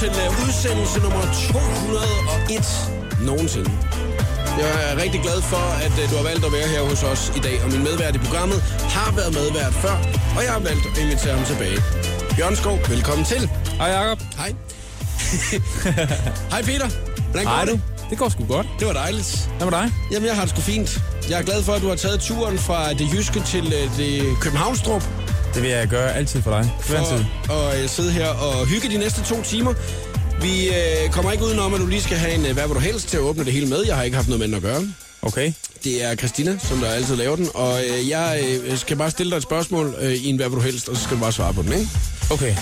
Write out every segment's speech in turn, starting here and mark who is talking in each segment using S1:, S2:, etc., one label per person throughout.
S1: til øh, udsendelse nummer 201 nogensinde. Jeg er rigtig glad for, at øh, du har valgt at være her hos os i dag, og min medvært i programmet har været medvært før, og jeg har valgt at invitere ham tilbage. Bjørn Skov, velkommen til.
S2: Hej Jacob.
S1: Hej. Hej Peter. Hvordan går det?
S2: Det går sgu godt.
S1: Det var dejligt.
S2: Hvad med dig?
S1: Jamen, jeg har det sgu fint. Jeg er glad for, at du har taget turen fra det jyske til øh, det københavnstrup.
S2: Det vil jeg gøre altid for dig. Hver
S1: for at øh, sidde her og hygge de næste to timer. Vi øh, kommer ikke udenom, at du lige skal have en øh, hvad vil du helst til at åbne det hele med. Jeg har ikke haft noget med den at gøre.
S2: Okay.
S1: Det er Christina, som der altid laver den, og øh, jeg øh, skal bare stille dig et spørgsmål øh, i en hvad vil du helst, og så skal du bare svare på den, ikke?
S2: Okay.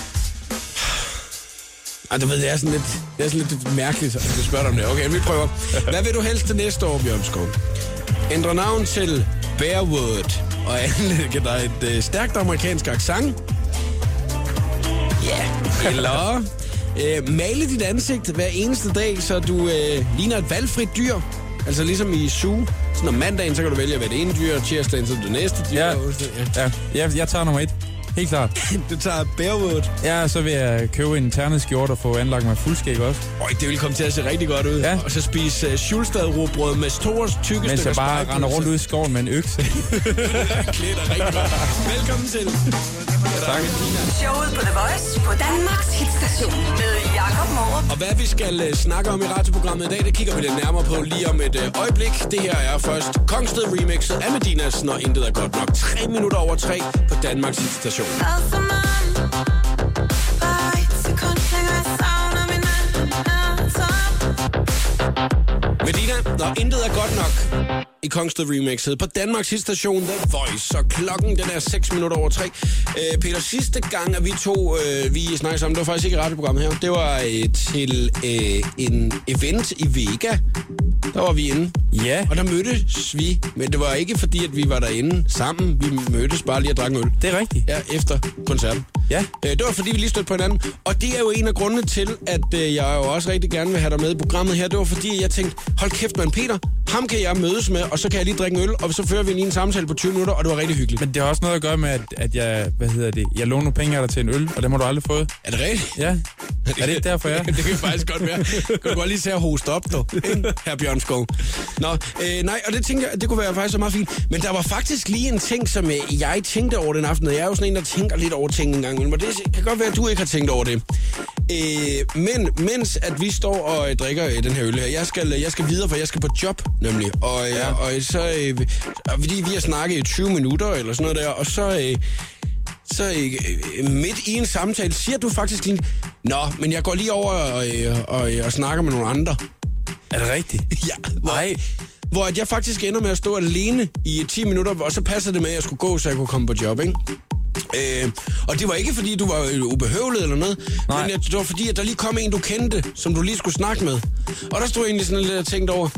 S1: Ej, du ved, det er sådan lidt, det er sådan lidt mærkeligt, at jeg spørger dig om det. Okay, vi prøver. Hvad vil du helst til næste år, Bjørn Skov? Ændre navn til Bearwood, og anlægge dig et øh, stærkt amerikansk accent? Ja. Yeah. Eller øh, male dit ansigt hver eneste dag, så du øh, ligner et valgfrit dyr. Altså ligesom i zoo. Sådan om mandagen, så kan du vælge at være det ene dyr, og tirsdagen så er det næste dyr.
S2: Ja.
S1: og onsdag- ja.
S2: Ja, jeg, jeg tager nummer et. Helt klart.
S1: Du tager Bearwood.
S2: Ja, så vil jeg købe en ternet skjorte og få anlagt mig fuldskæg også.
S1: Øj, det vil komme til at se rigtig godt ud.
S2: Ja.
S1: Og så spise uh, Schulstad-rugbrød med store, tykke
S2: Mens jeg
S1: stykker
S2: bare
S1: spejepølse.
S2: render rundt ud i skoven med en økse.
S1: klæder rigtig godt. Velkommen til.
S2: Tak.
S3: Showet på The Voice på Danmarks hitstation med Jakob Morup.
S1: Og hvad vi skal øh, snakke om i radioprogrammet i dag, det kigger vi lidt nærmere på lige om et øh, øjeblik. Det her er først Kongsted remixet af Medinas, når intet er godt nok. 3 minutter over 3 på Danmarks station. Medina, når intet er godt nok i Kongsted remixet på Danmarks station The Voice. Så klokken den er 6 minutter over 3. Øh, Peter, sidste gang, at vi to øh, vi snakkede sammen, det var faktisk ikke i radioprogrammet her. Det var øh, til øh, en event i Vega. Der var vi inde.
S2: Ja,
S1: Og der mødtes vi, men det var ikke fordi, at vi var derinde sammen. Vi mødtes bare lige og drak en øl.
S2: det er rigtigt.
S1: Ja, efter koncerten.
S2: Ja.
S1: Øh, Det var fordi, vi lige stødte på hinanden. Og det er jo en af grundene til, at øh, jeg jo også rigtig gerne vil have dig med i programmet her. Det var fordi, jeg tænkte, hold kæft mand, Peter, ham kan jeg mødes med, og så kan jeg lige drikke en øl, og så fører vi lige en samtale på 20 minutter, og det var rigtig hyggeligt.
S2: Men det har også noget at gøre med, at, at jeg, hvad hedder det, jeg låner penge af dig til en øl, og det må du aldrig få.
S1: er det rigtigt?
S2: Ja. Er det ikke derfor, jeg?
S1: det kan faktisk godt være. Kan du godt lige se at hoste op, du, her Bjørn Skov. Nå, øh, nej, og det tænker jeg, det kunne være faktisk meget fint. Men der var faktisk lige en ting, som øh, jeg tænkte over den aften, og jeg er jo sådan en, der tænker lidt over ting en gang imellem, og det kan godt være, at du ikke har tænkt over det. Øh, men mens at vi står og øh, drikker øh, den her øl her, jeg skal, øh, jeg skal videre, for jeg skal på job, nemlig. Og, øh, ja. og øh, så, øh, og fordi vi har snakket i 20 minutter, eller sådan noget der, og så... Øh, så øh, midt i en samtale siger du faktisk lige, Nå, men jeg går lige over og, øh, og, øh, og snakker med nogle andre.
S2: Er det rigtigt?
S1: Ja, hvor,
S2: Nej.
S1: hvor at jeg faktisk ender med at stå alene i 10 minutter, og så passer det med, at jeg skulle gå, så jeg kunne komme på job, ikke? Øh, og det var ikke, fordi du var øh, ubehøvlet eller noget,
S2: Nej.
S1: men at det var fordi, at der lige kom en, du kendte, som du lige skulle snakke med. Og der stod jeg egentlig sådan lidt og tænkte over,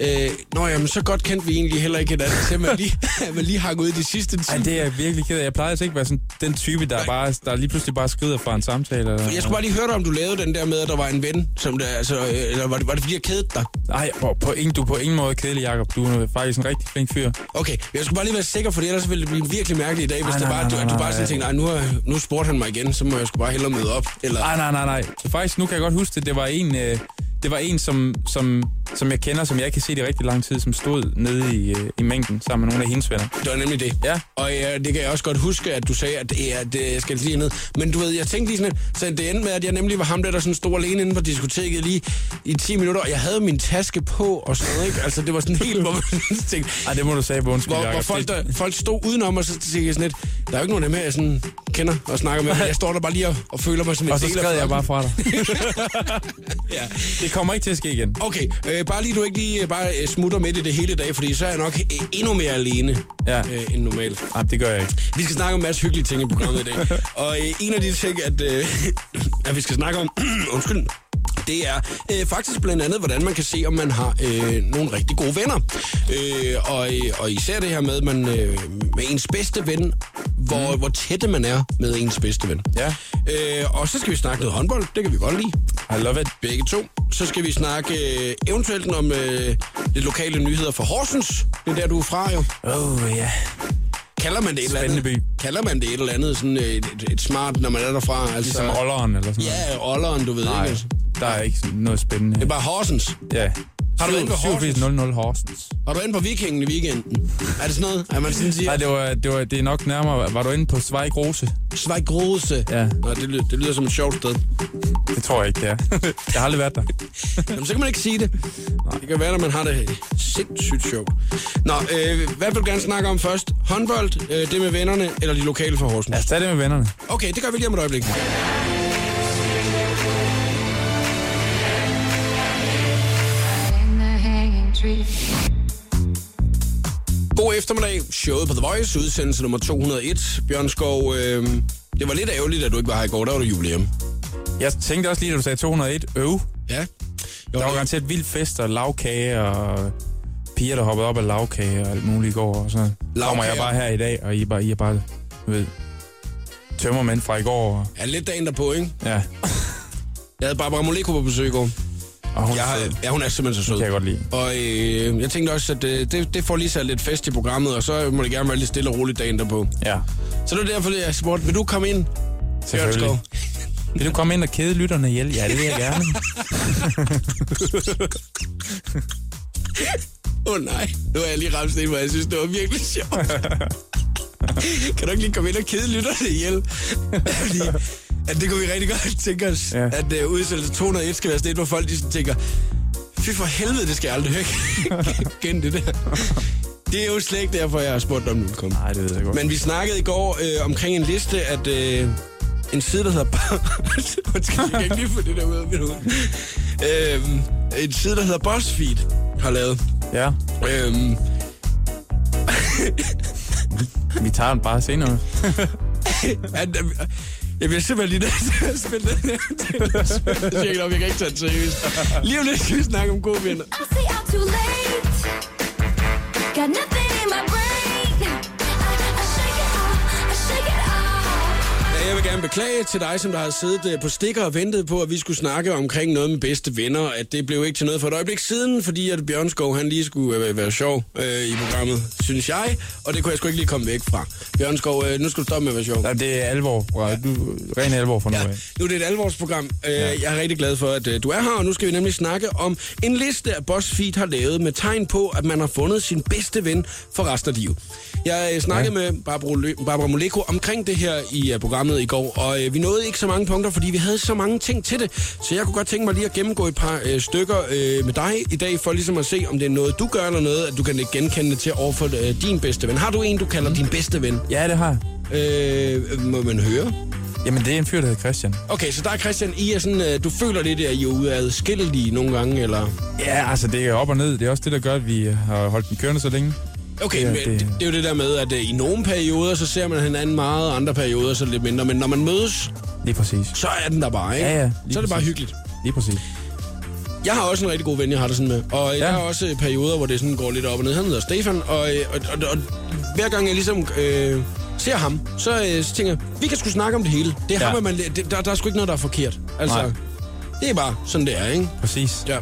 S1: øh, nå jamen, så godt kendte vi egentlig heller ikke hinanden, til man lige, at man lige hang ud i de sidste 10
S2: Ej, det er jeg virkelig ked af. Jeg plejer altså ikke at være sådan den type, der, bare, der lige pludselig bare skrider fra en samtale. Eller...
S1: Jeg skulle bare lige høre dig, om du lavede den der med, at der var en ven, som der, altså, øh, eller var det, var det fordi, jeg kedede dig?
S2: Nej, på, på ingen, du er på ingen måde kedelig, Jacob. Du er faktisk en rigtig flink fyr.
S1: Okay, men jeg skulle bare lige være sikker, for ellers ville det blive virkelig mærkeligt i dag, hvis
S2: Ej,
S1: det
S2: nej,
S1: bare,
S2: nej,
S1: du,
S2: nej,
S1: at du
S2: nej,
S1: bare sådan
S2: nej.
S1: tænkte, nej, nu, har- nu spurgte han mig igen, så må jeg sgu bare hellere møde op. Eller,
S2: Nej, nej, nej, nej. Så faktisk, nu kan jeg godt huske det. Det var en, øh, det var en som, som, som jeg kender, som jeg ikke kan se i rigtig lang tid, som stod nede i, øh, i mængden sammen med nogle af hendes venner.
S1: det var nemlig det.
S2: Ja.
S1: Og ja, det kan jeg også godt huske, at du sagde, at, ja, at øh, jeg skal lige ned. Men du ved, jeg tænkte lige sådan, lidt, så det endte med, at jeg nemlig var ham der, der sådan stod alene inde på diskoteket lige i 10 minutter, og jeg havde min taske på og sådan noget, ikke? Altså, det var sådan helt, hvor man tænkte,
S2: Ej, det må du sige på undskyld,
S1: Hvor, hvor
S2: Jacob.
S1: folk,
S2: Det-
S1: der, folk stod udenom, og så tænkte jeg sådan lidt, der er jo ikke nogen af dem her, jeg sådan kender og snakker med. men Jeg står der bare lige og, og føler mig som en
S2: Og så
S1: del af
S2: skred jeg bare
S1: flokken.
S2: fra dig.
S1: Ja.
S2: Det kommer ikke til at ske igen.
S1: Okay, øh, bare lige du ikke lige øh, bare øh, smutter midt i det hele i dag, fordi så er jeg nok øh, endnu mere alene
S2: Ja.
S1: øh, end normalt.
S2: Nej, det gør jeg ikke.
S1: Vi skal snakke om en masse hyggelige ting i programmet i dag. Og øh, en af de ting, at, øh, at vi skal snakke om, undskyld, det er øh, faktisk blandt andet, hvordan man kan se, om man har øh, nogle rigtig gode venner. Øh, og, øh, og især det her med, man, øh, med ens bedste ven, hvor, mm. hvor tætte man er med ens bedste ven.
S2: Ja.
S1: Øh, og så skal vi snakke noget håndbold, det kan vi godt lide.
S2: I love it.
S1: Begge to. Så skal vi snakke øh, eventuelt om øh, lidt lokale nyheder fra Horsens. Det er der, du er fra jo.
S2: Oh, ja. Yeah.
S1: kalder man det et eller andet?
S2: Spændende
S1: Kalder man det et eller andet, sådan et, et, et smart, når man er derfra? Altså,
S2: Ligesom Olleren eller sådan noget.
S1: Ja, olderen, du ved
S2: Nej,
S1: ikke.
S2: der er ikke sådan noget spændende.
S1: Det er bare Horsens.
S2: Ja.
S1: Har du været inde på Horsens?
S2: 8700 Horsens?
S1: Var du inde på Vikingen i weekenden? Er det sådan noget, at man sådan siger,
S2: Nej, det, var, det, var, det er nok nærmere. Var du inde på Zweig Rose?
S1: Schweig Rose?
S2: Ja.
S1: Nå, det, lyder, det lyder som et sjovt sted.
S2: Det tror jeg ikke, det er. jeg har aldrig været der.
S1: Jamen, så kan man ikke sige det. Det kan være, når man har det sindssygt sjovt. Nå, øh, hvad vil du gerne snakke om først? Håndbold, øh, det med vennerne, eller de lokale fra Horsens?
S2: Lad os tage det med vennerne.
S1: Okay, det gør vi lige om et øjeblik.
S4: in the hanging tree.
S1: God eftermiddag. Showet på The Voice, udsendelse nummer 201. Bjørn Skov, øh, det var lidt ærgerligt, at du ikke var her i går. Der var du jubilæum.
S2: Jeg tænkte også lige, da du sagde 201, øv.
S1: Ja. Jo,
S2: Der var
S1: det-
S2: garanteret vild fest og lavkage og piger, der hoppede op af lavkage og alt muligt i går. Og så kommer jeg
S1: Lagkager.
S2: bare her i dag, og I, er bare, I er bare, du ved, tømmermænd fra i går. Og,
S1: Ja, lidt dagen derpå, ikke?
S2: ja,
S1: Jeg havde Barbara Moleko på besøg i går.
S2: og hun
S1: Jeg
S2: sød.
S1: har, ja, hun er simpelthen så sød.
S2: kan jeg godt lide.
S1: Og øh, jeg tænkte også, at øh, det, det får lige sat lidt fest i programmet, og så må det gerne være lidt stille og roligt dagen derpå.
S2: Ja,
S1: Så det er derfor, jeg spurgte, vil du komme ind?
S2: selvfølgelig. Vil du komme ind og kede lytterne ihjel? Ja, det vil jeg gerne.
S1: Åh oh, nej, nu har jeg lige ramt det, hvor jeg synes, det var virkelig sjovt. kan du ikke lige komme ind og kede lytterne ihjel? Fordi at det kunne vi rigtig godt tænke os, ja.
S2: Ja.
S1: at uh, udsendelse 201 skal være sådan et, hvor folk de sådan tænker, fy for helvede, det skal jeg aldrig høre igen det der. Det er jo slet ikke derfor, jeg har spurgt dig, om du vil komme.
S2: Nej, det ved jeg godt.
S1: Men vi snakkede i går øh, omkring en liste, at øh, en side, der hedder Boss... Undskyld, jeg kan ikke lige få det der ud af mit hoved. Øhm, en side, der hedder BuzzFeed, har lavet.
S2: Ja,
S1: Øhm,
S2: vi tager den bare senere.
S1: at, øh, jeg bliver simpelthen lige nødt til at spille den her til. Jeg siger ikke nok, jeg kan ikke tage den seriøst. Lige om lidt skal vi snakke om gode venner.
S5: I stay out too late. Got nothing in my brain. I, I shake it off, I shake it off.
S1: Ja, Jeg vil gerne beklage til dig, som der har siddet øh, på stikker og ventet på, at vi skulle snakke omkring noget med bedste venner. At det blev ikke til noget for et øjeblik siden, fordi at Bjørn Skov, han lige skulle øh, være sjov øh, i programmet, synes jeg. Og det kunne jeg sgu ikke lige komme væk fra. Bjørn Skov, øh, nu skal du stoppe med at være sjov.
S2: Nej, det er alvor. Ja. Du, ren alvor for nu
S1: Ja,
S2: af.
S1: nu er det et alvorsprogram. Øh, Jeg er rigtig glad for, at øh, du er her, og nu skal vi nemlig snakke om en liste, at BuzzFeed har lavet med tegn på, at man har fundet sin bedste ven for resten af livet. Jeg øh, snakkede med Barbara, Lø- Barbara Moleko omkring det her i øh, programmet i går, og øh, vi nåede ikke så mange punkter, fordi vi havde så mange ting til det, så jeg kunne godt tænke mig lige at gennemgå et par øh, stykker øh, med dig i dag, for ligesom at se, om det er noget, du gør eller noget, at du kan genkende det til overfor øh, din bedste ven. Har du en, du kalder din bedste ven?
S2: Ja, det har jeg.
S1: Øh, må man høre?
S2: Jamen, det er en fyr, der hedder Christian.
S1: Okay, så der er Christian, I er sådan, øh, du føler lidt, at I er ude adskillelige nogle gange, eller?
S2: Ja, altså, det er op og ned. Det er også det, der gør, at vi har holdt den kørende så længe.
S1: Okay,
S2: Ja,
S1: ja, det... Men,
S2: det-
S1: det er jo det der med, at øh, i nogle perioder, så ser man hinanden meget, og andre perioder, så lidt mindre. Men når man mødes,
S2: Lige præcis.
S1: så er den der bare, ikke?
S2: Ja, ja, lige
S1: Så er det bare
S2: præcis.
S1: hyggeligt.
S2: Lige præcis.
S1: Jeg har også en rigtig god ven, jeg har det sådan med. Og ja. jeg
S2: Ja.
S1: har også øh, perioder, hvor det sådan går lidt op og ned. Han hedder Stefan, og, øh, og, og, og hver gang jeg ligesom øh, ser ham, så, øh, så tænker jeg, vi kan sgu snakke om det hele. Det er ja.
S2: Ja.
S1: ham, at man, det, der, der er sgu ikke noget, der er forkert. Altså, Nej.
S2: Nej.
S1: det er bare sådan, det er, ikke?
S2: Præcis.
S1: Ja.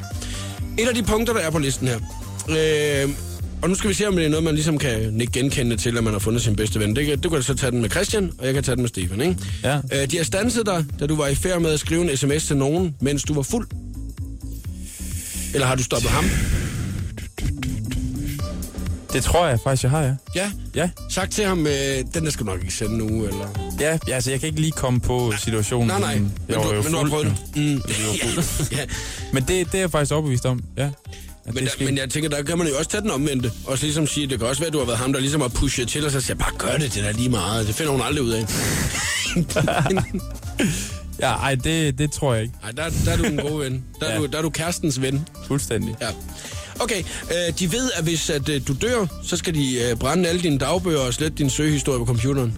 S1: Et af de punkter, der er på listen her. Øh, og nu skal vi se, om det er noget, man ligesom kan nikke genkende til, at man har fundet sin bedste ven. Det, kan- du kan så tage den med Christian, og jeg kan tage den med Stefan, ikke?
S2: Ja.
S1: Øh, de har stanset dig, da du var i færd med at skrive en sms til nogen, mens du var fuld. Eller har du stoppet ham?
S2: Det tror jeg faktisk, jeg har, ja.
S1: Ja.
S2: Ja,
S1: Sagt til ham, øh, den der skal du nok ikke sende nu, eller...
S2: ja, ja altså, jeg kan ikke lige komme på situationen.
S1: Nej, nej.
S2: men
S1: Men
S2: Jeg var
S1: du,
S2: jo
S1: men du har
S2: fuld,
S1: prøvet
S2: jo.
S1: det. Mm. Ja, ja.
S2: Men det, det er jeg faktisk overbevist om, ja. At
S1: Men,
S2: det
S1: der,
S2: sker.
S1: men jeg tænker, der kan man jo også tage den omvendte. Og så ligesom sige, det kan også være, at du har været ham, der ligesom har pushet til, og så siger, bare gør det, det der lige meget. Det finder hun aldrig ud af.
S2: Ja, ej, det, det tror jeg ikke.
S1: Nej, der, der er du en god ven. Der er, ja.
S2: Ja.
S1: du, der er du kærestens ven.
S2: Fuldstændig.
S1: Ja. Okay, øh, de ved, at hvis at, øh, du dør, så skal de øh, brænde alle dine dagbøger og slette din søgehistorie på computeren.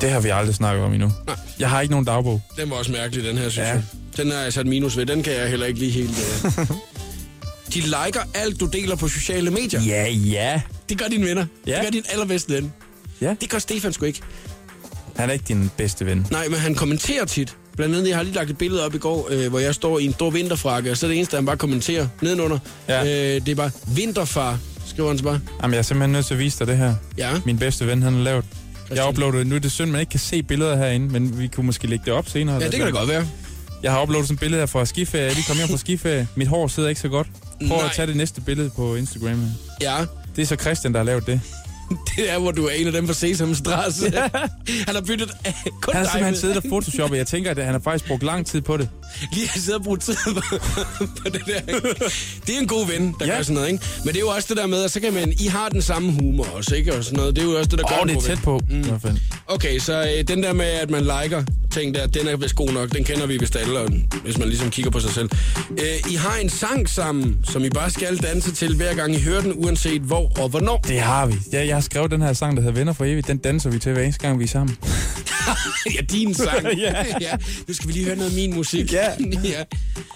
S2: Det har vi aldrig snakket om endnu.
S1: Nej.
S2: Jeg har ikke nogen dagbog.
S1: Den var også mærkelig, den her, synes ja.
S2: Ja.
S1: jeg. Den har jeg sat minus ved. Den kan jeg heller ikke lige helt... Øh. De liker alt, du deler på sociale medier.
S2: Ja, ja.
S1: Det gør dine venner.
S2: Ja.
S1: Det gør din allerbedste ven.
S2: Ja,
S1: Det gør Stefan sgu ikke.
S2: han er ikke din bedste ven.
S1: Nej, men han kommenterer tit. Blandt andet, jeg har lige lagt et billede op i går, øh, hvor jeg står i en stor vinterfrakke, og så er det eneste, han bare kommenterer nedenunder.
S2: Ja.
S1: Øh, det er bare, vinterfar, skriver han så bare.
S2: Jamen, jeg er simpelthen nødt til at vise dig det her.
S1: Ja.
S2: Min bedste ven, han har lavet. Jeg uploadede, nu er det synd, man ikke kan se billeder herinde, men vi kunne måske lægge det op senere.
S1: Ja, det kan det godt være.
S2: Jeg har uploadet sådan et billede her fra skiferie. Jeg lige kom hjem fra skiferie. Mit hår sidder ikke så godt. Prøv
S1: Nej.
S2: at tage det næste billede på Instagram her.
S1: Ja.
S2: Det er så Christian, der har lavet det.
S1: Det er, hvor du er en af dem fra Sesam Strasse. Ja. Han har byttet øh, kun
S2: Han har
S1: dig
S2: simpelthen
S1: med.
S2: siddet og photoshoppet. Jeg tænker, at han har faktisk brugt lang tid på det.
S1: lige har siddet og brugt tid på, på det der. ikke? Det er en god ven, der ja.
S2: Ja.
S1: gør sådan noget, ikke? Men det er jo også det der med, at så kan man... I har den samme humor også, ikke? Og sådan noget. Det er jo også det, der gør
S2: Åh, oh,
S1: en
S2: det er
S1: god ven.
S2: tæt på. Mm. I hvert fald.
S1: Okay, så øh, den der med, at man liker ting der, den er vist god nok. Den kender vi vist alle, og hvis man ligesom kigger på sig selv. Øh, I har en sang sammen, som I bare skal danse til, hver gang I hører den, uanset hvor og hvornår.
S2: Det har vi. Jeg, jeg har skrevet den her sang, der hedder Venner for evigt. Den danser vi til hver eneste gang, vi er sammen.
S1: ja, din sang.
S2: Ja.
S1: ja. Nu skal vi lige høre noget af min musik.
S2: Ja.
S1: ja. øh,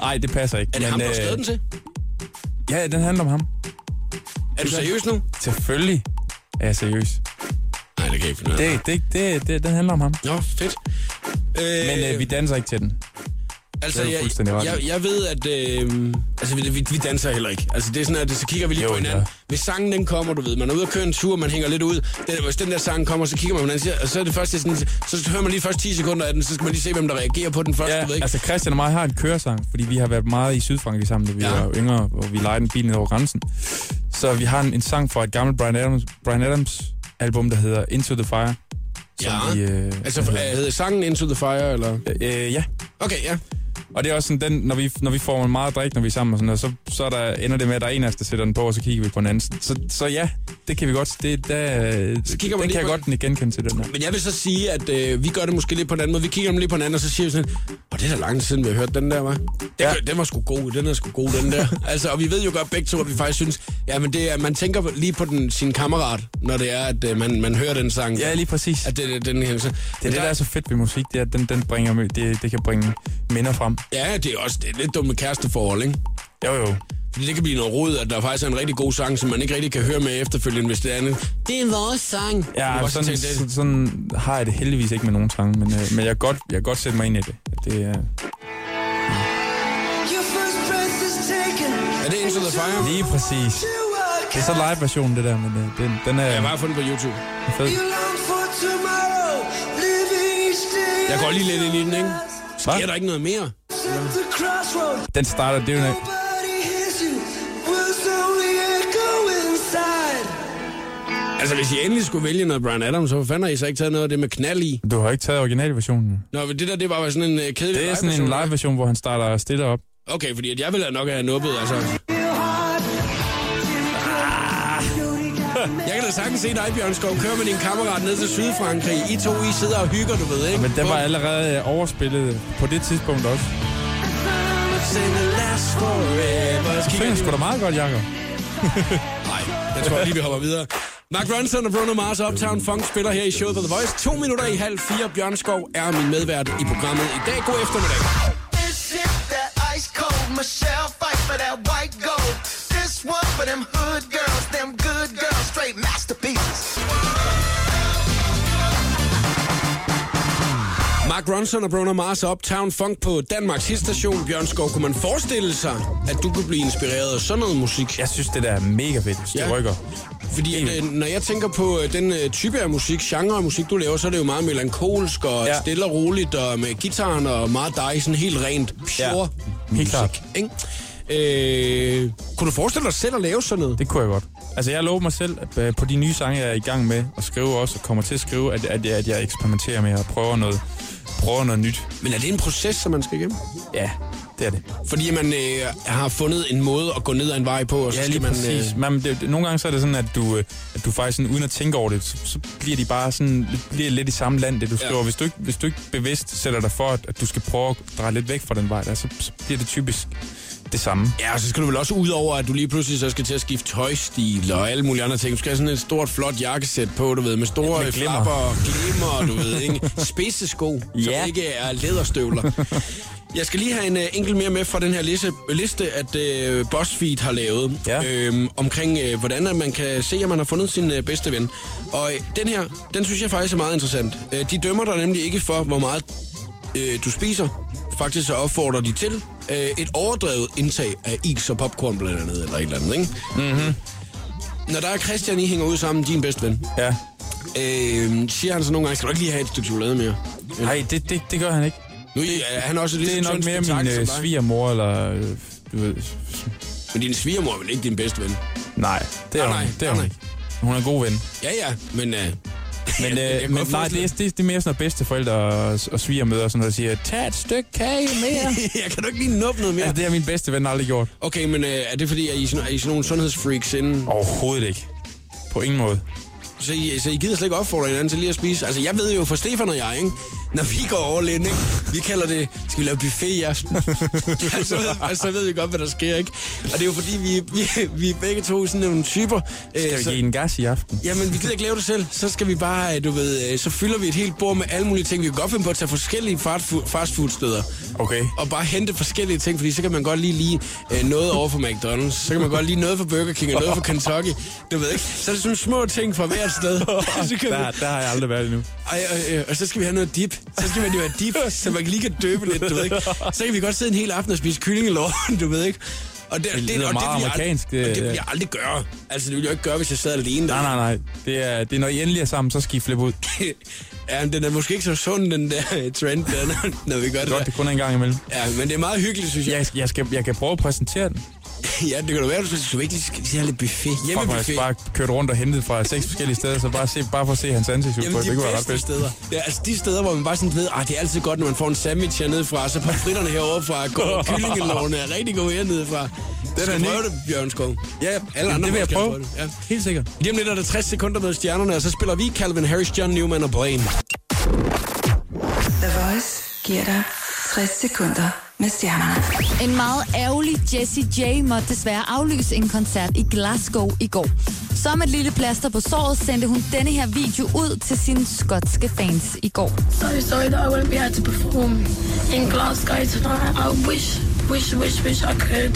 S2: Nej, det passer ikke. øh,
S1: Er det ham, der har skrevet den til?
S2: Ja, den handler om ham.
S1: Er du seriøs nu?
S2: Selvfølgelig er jeg seriøs.
S1: Nej, det kan jeg ikke finde ud af.
S2: Det, det, det, det, den handler om ham.
S1: Nå, fedt. Øh,
S2: Men øh, vi danser ikke til den.
S1: Altså,
S2: Det er jo
S1: jeg,
S2: fuldstændig ret i.
S1: jeg, jeg ved, at øh, altså, vi, vi, vi danser heller ikke. Altså, det er sådan, at så kigger vi lige
S2: Jo,
S1: jo, på hinanden.
S2: ja.
S1: Ja. Hvis sangen den kommer, du ved, man er ude at køre en tur, man hænger lidt ud. Den, hvis den der sang kommer, så kigger man på hinanden, siger- og så er det først det er sådan, så hører man lige først 10 sekunder af den, så skal man lige se, hvem der reagerer på den først,
S2: Ja,
S1: du ved ikke?
S2: altså Christian og mig har en køresang, fordi vi har været meget i Sydfrankrig sammen, da vi
S1: Ja.
S2: ja. var yngre, og vi lejede en bil ned over grænsen. Så vi har en, en sang fra et gammelt Brian Adams, Brian Adams album, der hedder Into the Fire. Som
S1: Ja.
S2: vi, øh,
S1: Altså,
S2: hvad
S1: øh, hedder sangen Into the Fire, eller?
S2: hedder- øh, ja.
S1: Okay, ja.
S2: Og det er også sådan, den, når, vi, når vi får meget drik, når vi er sammen, og sådan noget, så, så er der, ender det med, at der er en af os, der sætter den på, og så kigger vi på den anden. Så, så ja, det kan vi godt. Det, der, så
S1: kigger man
S2: den
S1: lige
S2: kan jeg
S1: på-
S2: godt genkende til den her.
S1: Men jeg vil så sige, at øh, vi gør det måske lidt på en anden måde. Vi kigger dem lidt på hinanden, og så siger vi sådan, og det er da lang tid siden, vi har hørt den der, var. Ja.
S2: Ja.
S1: Den var sgu god, den er sgu god, den der. altså, og vi ved jo godt begge to, at vi faktisk synes, ja, men det er, man tænker lige på den, sin kammerat, når det er, at øh, man, man hører den sang.
S2: Ja, lige præcis.
S1: At det, det, den her, så,
S2: Det er det, der er så fedt ved musik, det er, at den, den bringer, mø- det, det kan bringe minder frem.
S1: Ja, det er også det er lidt dumt med kæresteforhold, ikke?
S2: Jo, jo.
S1: Fordi det kan blive noget rod, at der faktisk er en rigtig god sang, som man ikke rigtig kan høre med efterfølgende, hvis det er andet. Det er vores sang. Du
S2: Ja,
S1: kan
S2: sådan,
S1: også tænke,
S2: sådan, sådan har jeg det heldigvis ikke med nogen sange, men, øh, men jeg, kan godt, jeg kan godt sætte mig ind i det. det øh,
S1: Er det Into the Fire?
S2: lige præcis. Det er så live-versionen, det der, men øh, den, den er
S1: Jeg har bare fundet på YouTube.
S2: fed.
S1: Jeg går lige lidt ind i den, ikke?
S2: Hva?
S1: Sker der ikke noget mere?
S2: Den starter, det er jo en-
S1: Altså, hvis I endelig skulle vælge noget Brian Adams, så fanden har I så ikke taget noget af det med knald i?
S2: Du har ikke taget originalversionen.
S1: Nå, men det der, det var bare sådan en øh, kedelig
S2: Det er sådan en
S1: live-version.
S2: live-version, hvor han starter stille op.
S1: Okay, fordi at jeg ville nok have nubbet, altså. Jeg kan da sagtens se dig, Bjørn Skov, køre med din kammerat ned til Sydfrankrig. I to, I sidder og hygger, du ved, ikke?
S2: Men den var
S1: Bum.
S2: allerede øh, overspillet på det tidspunkt også.
S1: Send the last forever. Så
S2: Det
S1: kigger
S2: er
S1: øh, jeg
S2: sgu da meget godt, Jacob.
S1: Nej, jeg tror lige, vi hopper videre. Mark Ronson og Bruno Mars og Uptown Funk spiller her i showet på The Voice. To minutter i halv fire. Bjørn Skov er min medvært i programmet i dag. God eftermiddag.
S6: This is that ice cold Michelle fight for that white gold. This one for them hood girls, them good girls, straight masterpieces.
S1: Mark Ronson og Bruno Mars og Uptown Funk på Danmarks hitstation. Bjørn Skov, kunne man forestille sig, at du kunne blive inspireret af sådan noget musik?
S2: Jeg synes, det der er mega fedt. Det
S1: Ja.
S2: rykker.
S1: Fordi at, øh, når jeg tænker på øh, den øh, type af musik, genre af musik, du laver, så er det jo meget melankolsk og ja.
S2: Ja.
S1: stille og roligt, og med gitaren og meget dig, sådan helt rent pure
S2: Helt
S1: musik.
S2: klart.
S1: Ikke? Øh, kunne du forestille dig selv at lave sådan noget?
S2: Det kunne jeg godt. Altså, jeg lover mig selv at, øh, på de nye sange, jeg er i gang med at skrive også, og kommer til at skrive, at, at, jeg, at jeg eksperimenterer med og prøver noget, prøver noget nyt.
S1: Men er det en proces, som man skal igennem?
S2: Ja, det er det.
S1: Fordi man øh, har fundet en måde at gå ned ad en vej på, og så
S2: Ja,
S1: skal
S2: lige
S1: man... øh,
S2: præcis. Man, det, det- nogle gange så er det sådan, at du, øh, at du faktisk sådan, uden at tænke over det, så, så bliver de bare sådan, bliver lidt i samme land, det du skriver. Hvis, du ikke, hvis du ikke bevidst sætter dig for, at, at du skal prøve at dreje lidt væk fra den vej der, så, så bliver det typisk det samme.
S1: Ja, og så skal du vel også ud over, at du lige pludselig så skal til at skifte tøjstil og alle mulige andre ting. Du skal have sådan et stort, flot jakkesæt på, du ved, med store
S2: Med glimmer.
S1: flapper og glimmer, du ved, ikke? Spidse sko,
S2: Ja.
S1: som ikke er læderstøvler. Jeg skal lige have en uh, enkelt mere med fra den her liste, liste at uh, BuzzFeed har lavet,
S2: Ja.
S1: øhm, omkring uh, hvordan at man kan se, at man har fundet sin uh, bedste ven. Og uh, den her, den synes jeg faktisk er meget interessant. Uh, de dømmer dig nemlig ikke for, hvor meget øh, du spiser, faktisk så opfordrer de til
S2: Mhm.
S1: øh, et overdrevet indtag af is og popcorn blandt andet, eller et eller andet, ikke? Mm-hmm. Når der er Christian, I hænger ud sammen, din bedste ven,
S2: Ja.
S1: øh, siger han så nogle gange, skal du ikke lige have et stykke chokolade mere?
S2: Nej, det, det, det gør han ikke.
S1: Nu er han også lidt
S2: Det er nok mere min øh, svigermor, eller... øh, Du ved,
S1: Men din svigermor er vel ikke din bedste ven?
S2: nej, det er
S1: Nej,
S2: hun,
S1: nej,
S2: ikke. det er
S1: nej,
S2: hun ikke. Hun er en god ven.
S1: Ja, ja, men... Øh,
S2: Men,
S1: jeg kan
S2: øh,
S1: godt
S2: men nej,
S1: forestille
S2: det er, det, er- det er mere sådan, at bedsteforældre og, og svigermøder og sådan noget, der siger, tag et stykke kage mere.
S1: jeg kan du ikke lige nuppe noget mere?
S2: ja, det har min bedste ven aldrig gjort.
S1: Okay, men øh, er det fordi, at I er sådan, er I sådan nogle sundhedsfreaks inden?
S2: Overhovedet ikke. På ingen måde.
S1: Så I, så I gider slet ikke opfordre hinanden til lige at spise? Altså, jeg ved jo for Stefan og jeg, ikke? Når vi går over lidt, ikke? Vi kalder det, skal vi lave buffet i aften? ja, så, ved, og så ved vi godt, hvad der sker, ikke? Og det er jo fordi, vi, vi, vi er begge to sådan nogle typer. øh,
S2: Skal vi
S1: så-
S2: give en gas i aften?
S1: Jamen, vi gider ikke lave det selv. Så skal vi bare, øh, du ved, øh, så fylder vi et helt bord med alle mulige ting. Vi kan godt finde på at tage forskellige fastfo- fastfoodsteder.
S2: Okay.
S1: Og bare hente forskellige ting, fordi så kan man godt lige lige øh, noget over for McDonald's. Så kan man godt lige noget for Burger King og noget for Kentucky. Du ved ikke. Så er det sådan små ting fra hvert sted. så kan
S2: Der,
S1: vi,
S2: der har jeg aldrig været endnu.
S1: ej, øh, øh, og så skal vi have noget dip. Så skal man jo have dip, så man lige kan døbe lidt, du ved ikke. Så kan vi godt sidde en hel aften og spise kyllingelår, du ved ikke. Og det,
S2: lyder
S1: og
S2: meget
S1: vil jeg ald-
S2: amerikansk, det-
S1: og det vil jeg aldrig gøre. Altså, det ville jeg ikke gøre, hvis jeg sad alene.
S2: Nej, nej, nej. Det er, det er, når I endelig er sammen, så skal I flippe ud.
S1: ja, men den er måske ikke så sund, den der øh, trend, der, når- når vi gør det.
S2: Godt,
S1: Der.
S2: det kun er en gang imellem.
S1: Ja, men det er meget hyggeligt, synes jeg.
S2: Jeg, jeg, skal, jeg kan prøve at præsentere den.
S1: Ja, det kan du være, du skal, skal vi ikke lige skal lige have lidt buffet.
S2: Fuck, man
S1: Hjemmebuffet.
S2: bare kørt rundt og hentet fra seks forskellige steder, så bare, se, bare for at se hans
S1: Jamen,
S2: ansigtsudtryk.
S1: de
S2: Det kunne være ret
S1: bedste
S2: fedt.
S1: steder. Ja, altså de steder, hvor man bare sådan ved, at det er altid godt, når man får en sandwich hernede fra, så pomfritterne herovre fra, går kyllingelårene er rigtig gode hernede fra. Det er
S2: ny.
S1: prøve det, Bjørn Skov.
S2: Ja,
S1: Alle andre
S2: det vil jeg
S1: folk skal
S2: prøve.
S1: prøve det, ja.
S2: Helt sikkert.
S1: Lige om lidt er der 60 sekunder med stjernerne, og så spiller vi Calvin Harris, John Newman og Blaine.
S3: The Voice giver dig 60 sekunder med stjernerne.
S7: En meget ærgerlig Jessie J måtte desværre aflyse en koncert i Glasgow i går. Som et lille plaster på såret sendte hun denne her video ud til sine skotske fans i går.
S8: so sorry that I won't be able to perform in Glasgow tonight. I wish, wish, wish, wish I could,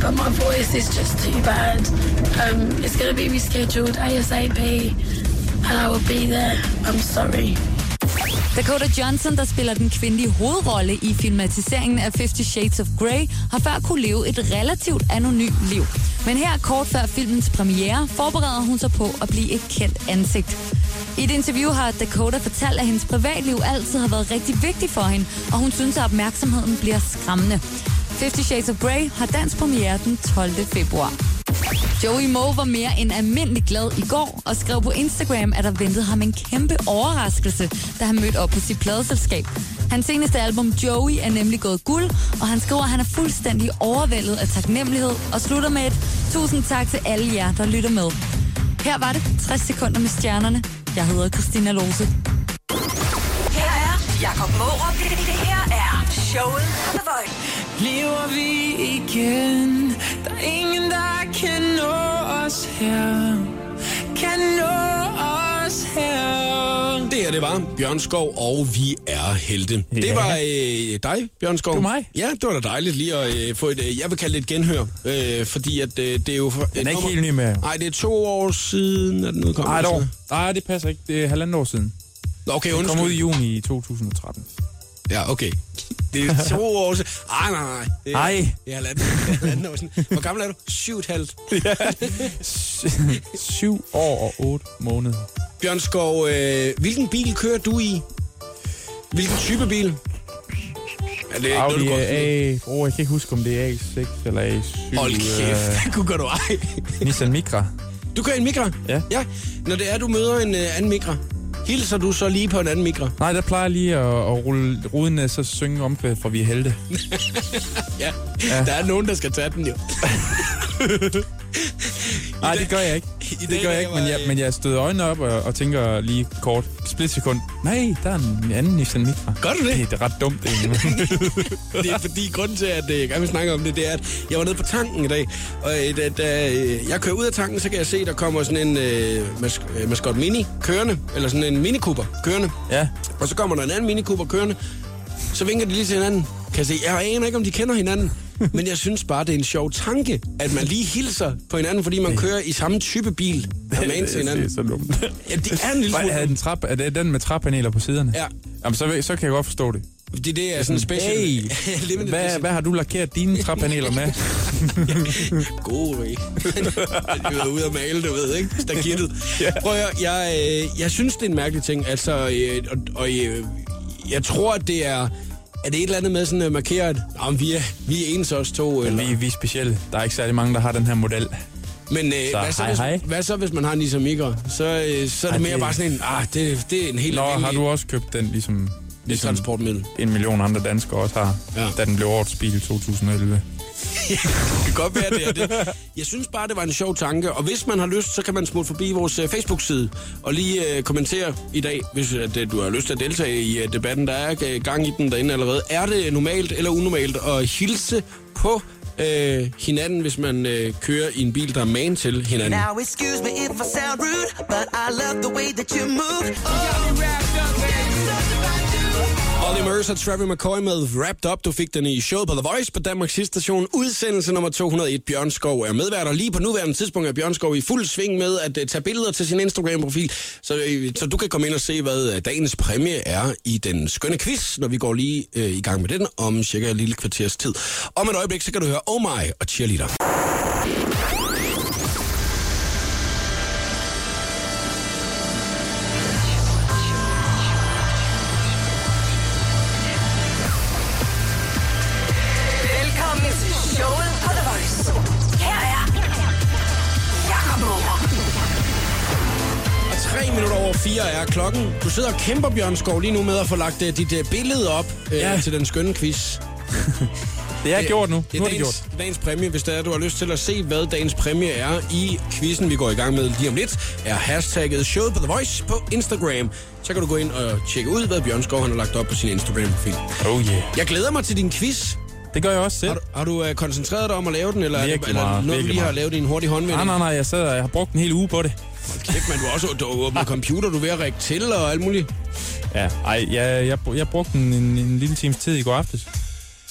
S8: but my voice is just too bad. Um, it's going to be rescheduled ASAP, and I will be there. I'm sorry.
S7: Dakota Johnson, der spiller den kvindelige hovedrolle i filmatiseringen af Fifty Shades of Grey, har før kunne leve et relativt anonymt liv. Men her kort før filmens premiere forbereder hun sig på at blive et kendt ansigt. I et interview har Dakota fortalt, at hendes privatliv altid har været rigtig vigtig for hende, og hun synes, at opmærksomheden bliver skræmmende. Fifty Shades of Grey har dansk premiere den 12. februar. Joey Moe var mere end almindelig glad i går og skrev på Instagram, at der ventede ham en kæmpe overraskelse, da han mødte op på sit pladeselskab. Hans seneste album, Joey, er nemlig gået guld, og han skriver, at han er fuldstændig overvældet af taknemmelighed og slutter med et tusind tak til alle jer, der lytter med. Her var det 60 sekunder med stjernerne. Jeg hedder Christina Lose.
S3: Her er Jakob Morup. Det, det, det her er showet på The Voice.
S9: Lever vi igen Der er ingen, der kan nå os her Kan nå os her
S1: Det her, det var Bjørn Skov, og vi er helte. Ja. Det
S2: Ja.
S1: var øh, dig, Bjørn Skov.
S2: Det var mig.
S1: Ja, det var da dejligt lige at øh, få et, øh, jeg vil kalde det et genhør, øh, fordi at øh, det er jo... For,
S2: Den er ikke helt ny med.
S1: Nej, det er to år siden, at den udkom.
S2: Nej, dog. Nej, det passer ikke. Det er halvandet år siden.
S1: Nå, Okay,
S2: Det
S1: undskyld.
S2: kom ud i juni i 2013.
S1: Ja, okay. Det er to år siden. Ej, nej, nej. Det er,
S2: Ej.
S1: Det er halvanden, det er halvanden år siden. Hvor gammel er du? Syv og et halvt.
S2: Syv år og otte måneder.
S1: Bjørn Skov, øh, hvilken bil kører du i? Hvilken type bil? Er det ikke noget,
S2: Audi
S1: du går
S2: A... Oh, jeg kan ikke huske, om det er A6 eller A7.
S1: Hold kæft,
S2: øh,
S1: det kunne godt du ej.
S2: Nissan Micra.
S1: Du kører en Mikra?
S2: Ja.
S1: ja. Når det er, du møder en øh, anden Mikra, hilser du så lige på en anden Mikra?
S2: Nej, der plejer jeg lige at, at rulle ruden af, så synge om, for vi er helte.
S1: Ja. ja. Der er nogen, der skal tage den jo.
S2: Nej, det gør jeg ikke.
S1: dag,
S2: Det gør jeg
S1: der
S2: ikke,
S1: var,
S2: men jeg,
S1: øh,
S2: men jeg støder øjnene op og, og tænker lige kort, splitsekund, nej, der er en anden Nissan Micra.
S1: Gør du det?
S2: Det er ret dumt egentlig. men-
S1: Det er fordi, grunden til, at øh, jeg gerne vil snakke om det, det er, at jeg var nede på tanken i dag, og øh, da, da øh, jeg kører ud af tanken, så kan jeg se, der kommer sådan en øh, mas- øh, Mascot Mini kørende, eller sådan en Mini Cooper kørende,
S2: ja,
S1: og så kommer der en anden Mini Cooper kørende, så vinker de lige til hinanden. Kan jeg se, jeg aner ikke, om de kender hinanden, men jeg synes bare, det er en sjov tanke, at man lige hilser på hinanden, fordi man kører i samme type bil, og man til hinanden.
S2: Det er så dumt.
S1: Ja, det er en lille
S2: Hvad,
S1: smule
S2: er
S1: dumt.
S2: den, trap, er det den med trappaneler på siderne?
S1: Ja.
S2: Jamen, så, ved- så kan jeg godt forstå det.
S1: Det, det er sådan en special.
S2: Hey,
S1: limited
S2: hvad,
S1: edition.
S2: hvad har du lakeret dine træpaneler med?
S1: God væg. Jeg var ude at male, du ved, ikke? Stakittet. Prøv at høre, jeg, øh, jeg synes, det er en mærkelig ting. Altså, øh, og, og øh, jeg tror, at det er... Er det et eller andet med sådan at markere, at om vi, er, vi er ens os to? Eller?
S2: vi, vi er specielle. Der er ikke særlig mange, der har den her model.
S1: Men øh,
S2: Så
S1: hvad, så,
S2: hej,
S1: hvis,
S2: hej.
S1: hvad så, hvis man har en Nissan Micra? Så, øh, så er
S2: Ej,
S1: det mere
S2: det-
S1: bare sådan en, ah, det, det er en helt
S2: Nå, har
S1: almindelig
S2: du også købt den, ligesom, ligesom
S1: transportmiddel.
S2: en million andre danskere også har,
S1: Ja.
S2: ja. da den blev årets bil i 2011?
S1: Det kan godt være, det er det. Jeg synes bare, det var en sjov tanke, og hvis man har lyst, så kan man smutte forbi vores øh, Facebook-side og lige øh, kommentere i dag, hvis at, øh, du har lyst til at deltage i øh, debatten. Der er øh, gang i den derinde allerede. Er det normalt eller unormalt at hilse på øh, hinanden, hvis man øh, kører i en bil, der er man til hinanden?
S6: Now, excuse me if I sound rude, but I love the way that you move. Oh,
S1: Olly Murs og Travis McCoy med Wrapped Up. Du fik den i showet på The Voice på Danmarks station. Udsendelse nummer 201. Bjørn Skov er medvært, og lige på nuværende tidspunkt er Bjørn Skov i fuld sving med at øh, tage billeder til sin Instagram-profil. Så, øh, så du kan komme ind og se, hvad øh, dagens præmie er i den skønne quiz, når vi går lige øh, i gang med den om cirka et lille kvarters tid. Om et øjeblik, så kan du høre Oh My og Cheerleader.
S3: Velkommen til showet på The Voice. Her er Jakob Morup.
S1: Og tre minutter over fire er klokken. Du sidder og kæmper, Bjørn Skov, lige nu med at få lagt øh, dit øh, billede op øh, ja.
S2: Ja.
S1: til den skønne quiz.
S2: Det er gjort nu.
S1: Det er
S2: nu er det
S1: dagens,
S2: gjort.
S1: det dagens præmie. Hvis der er, du har lyst til at se, hvad dagens præmie er i quizzen, vi går i gang med lige om lidt, er hashtagget showet på The Voice på Instagram. Så kan du gå ind og tjekke ud, hvad Bjørn Skov han har lagt op på sin Instagram-profil.
S2: Oh yeah.
S1: Jeg glæder mig til din quiz.
S2: Det gør jeg også selv.
S1: Har du, har du uh, koncentreret dig om at lave den, eller,
S2: Virkelig
S1: eller
S2: meget,
S1: noget, du
S2: virkelig
S1: lige har
S2: meget.
S1: lavet i en hurtig håndvending?
S2: Nej, nej, nej, jeg sidder, jeg har brugt en hel uge på det.
S1: Kæft, man, du har også du har åbnet computer, du er ved at række til og alt muligt.
S2: Ja, ej, jeg, jeg, jeg brugte en, en, en lille times tid i går aftes.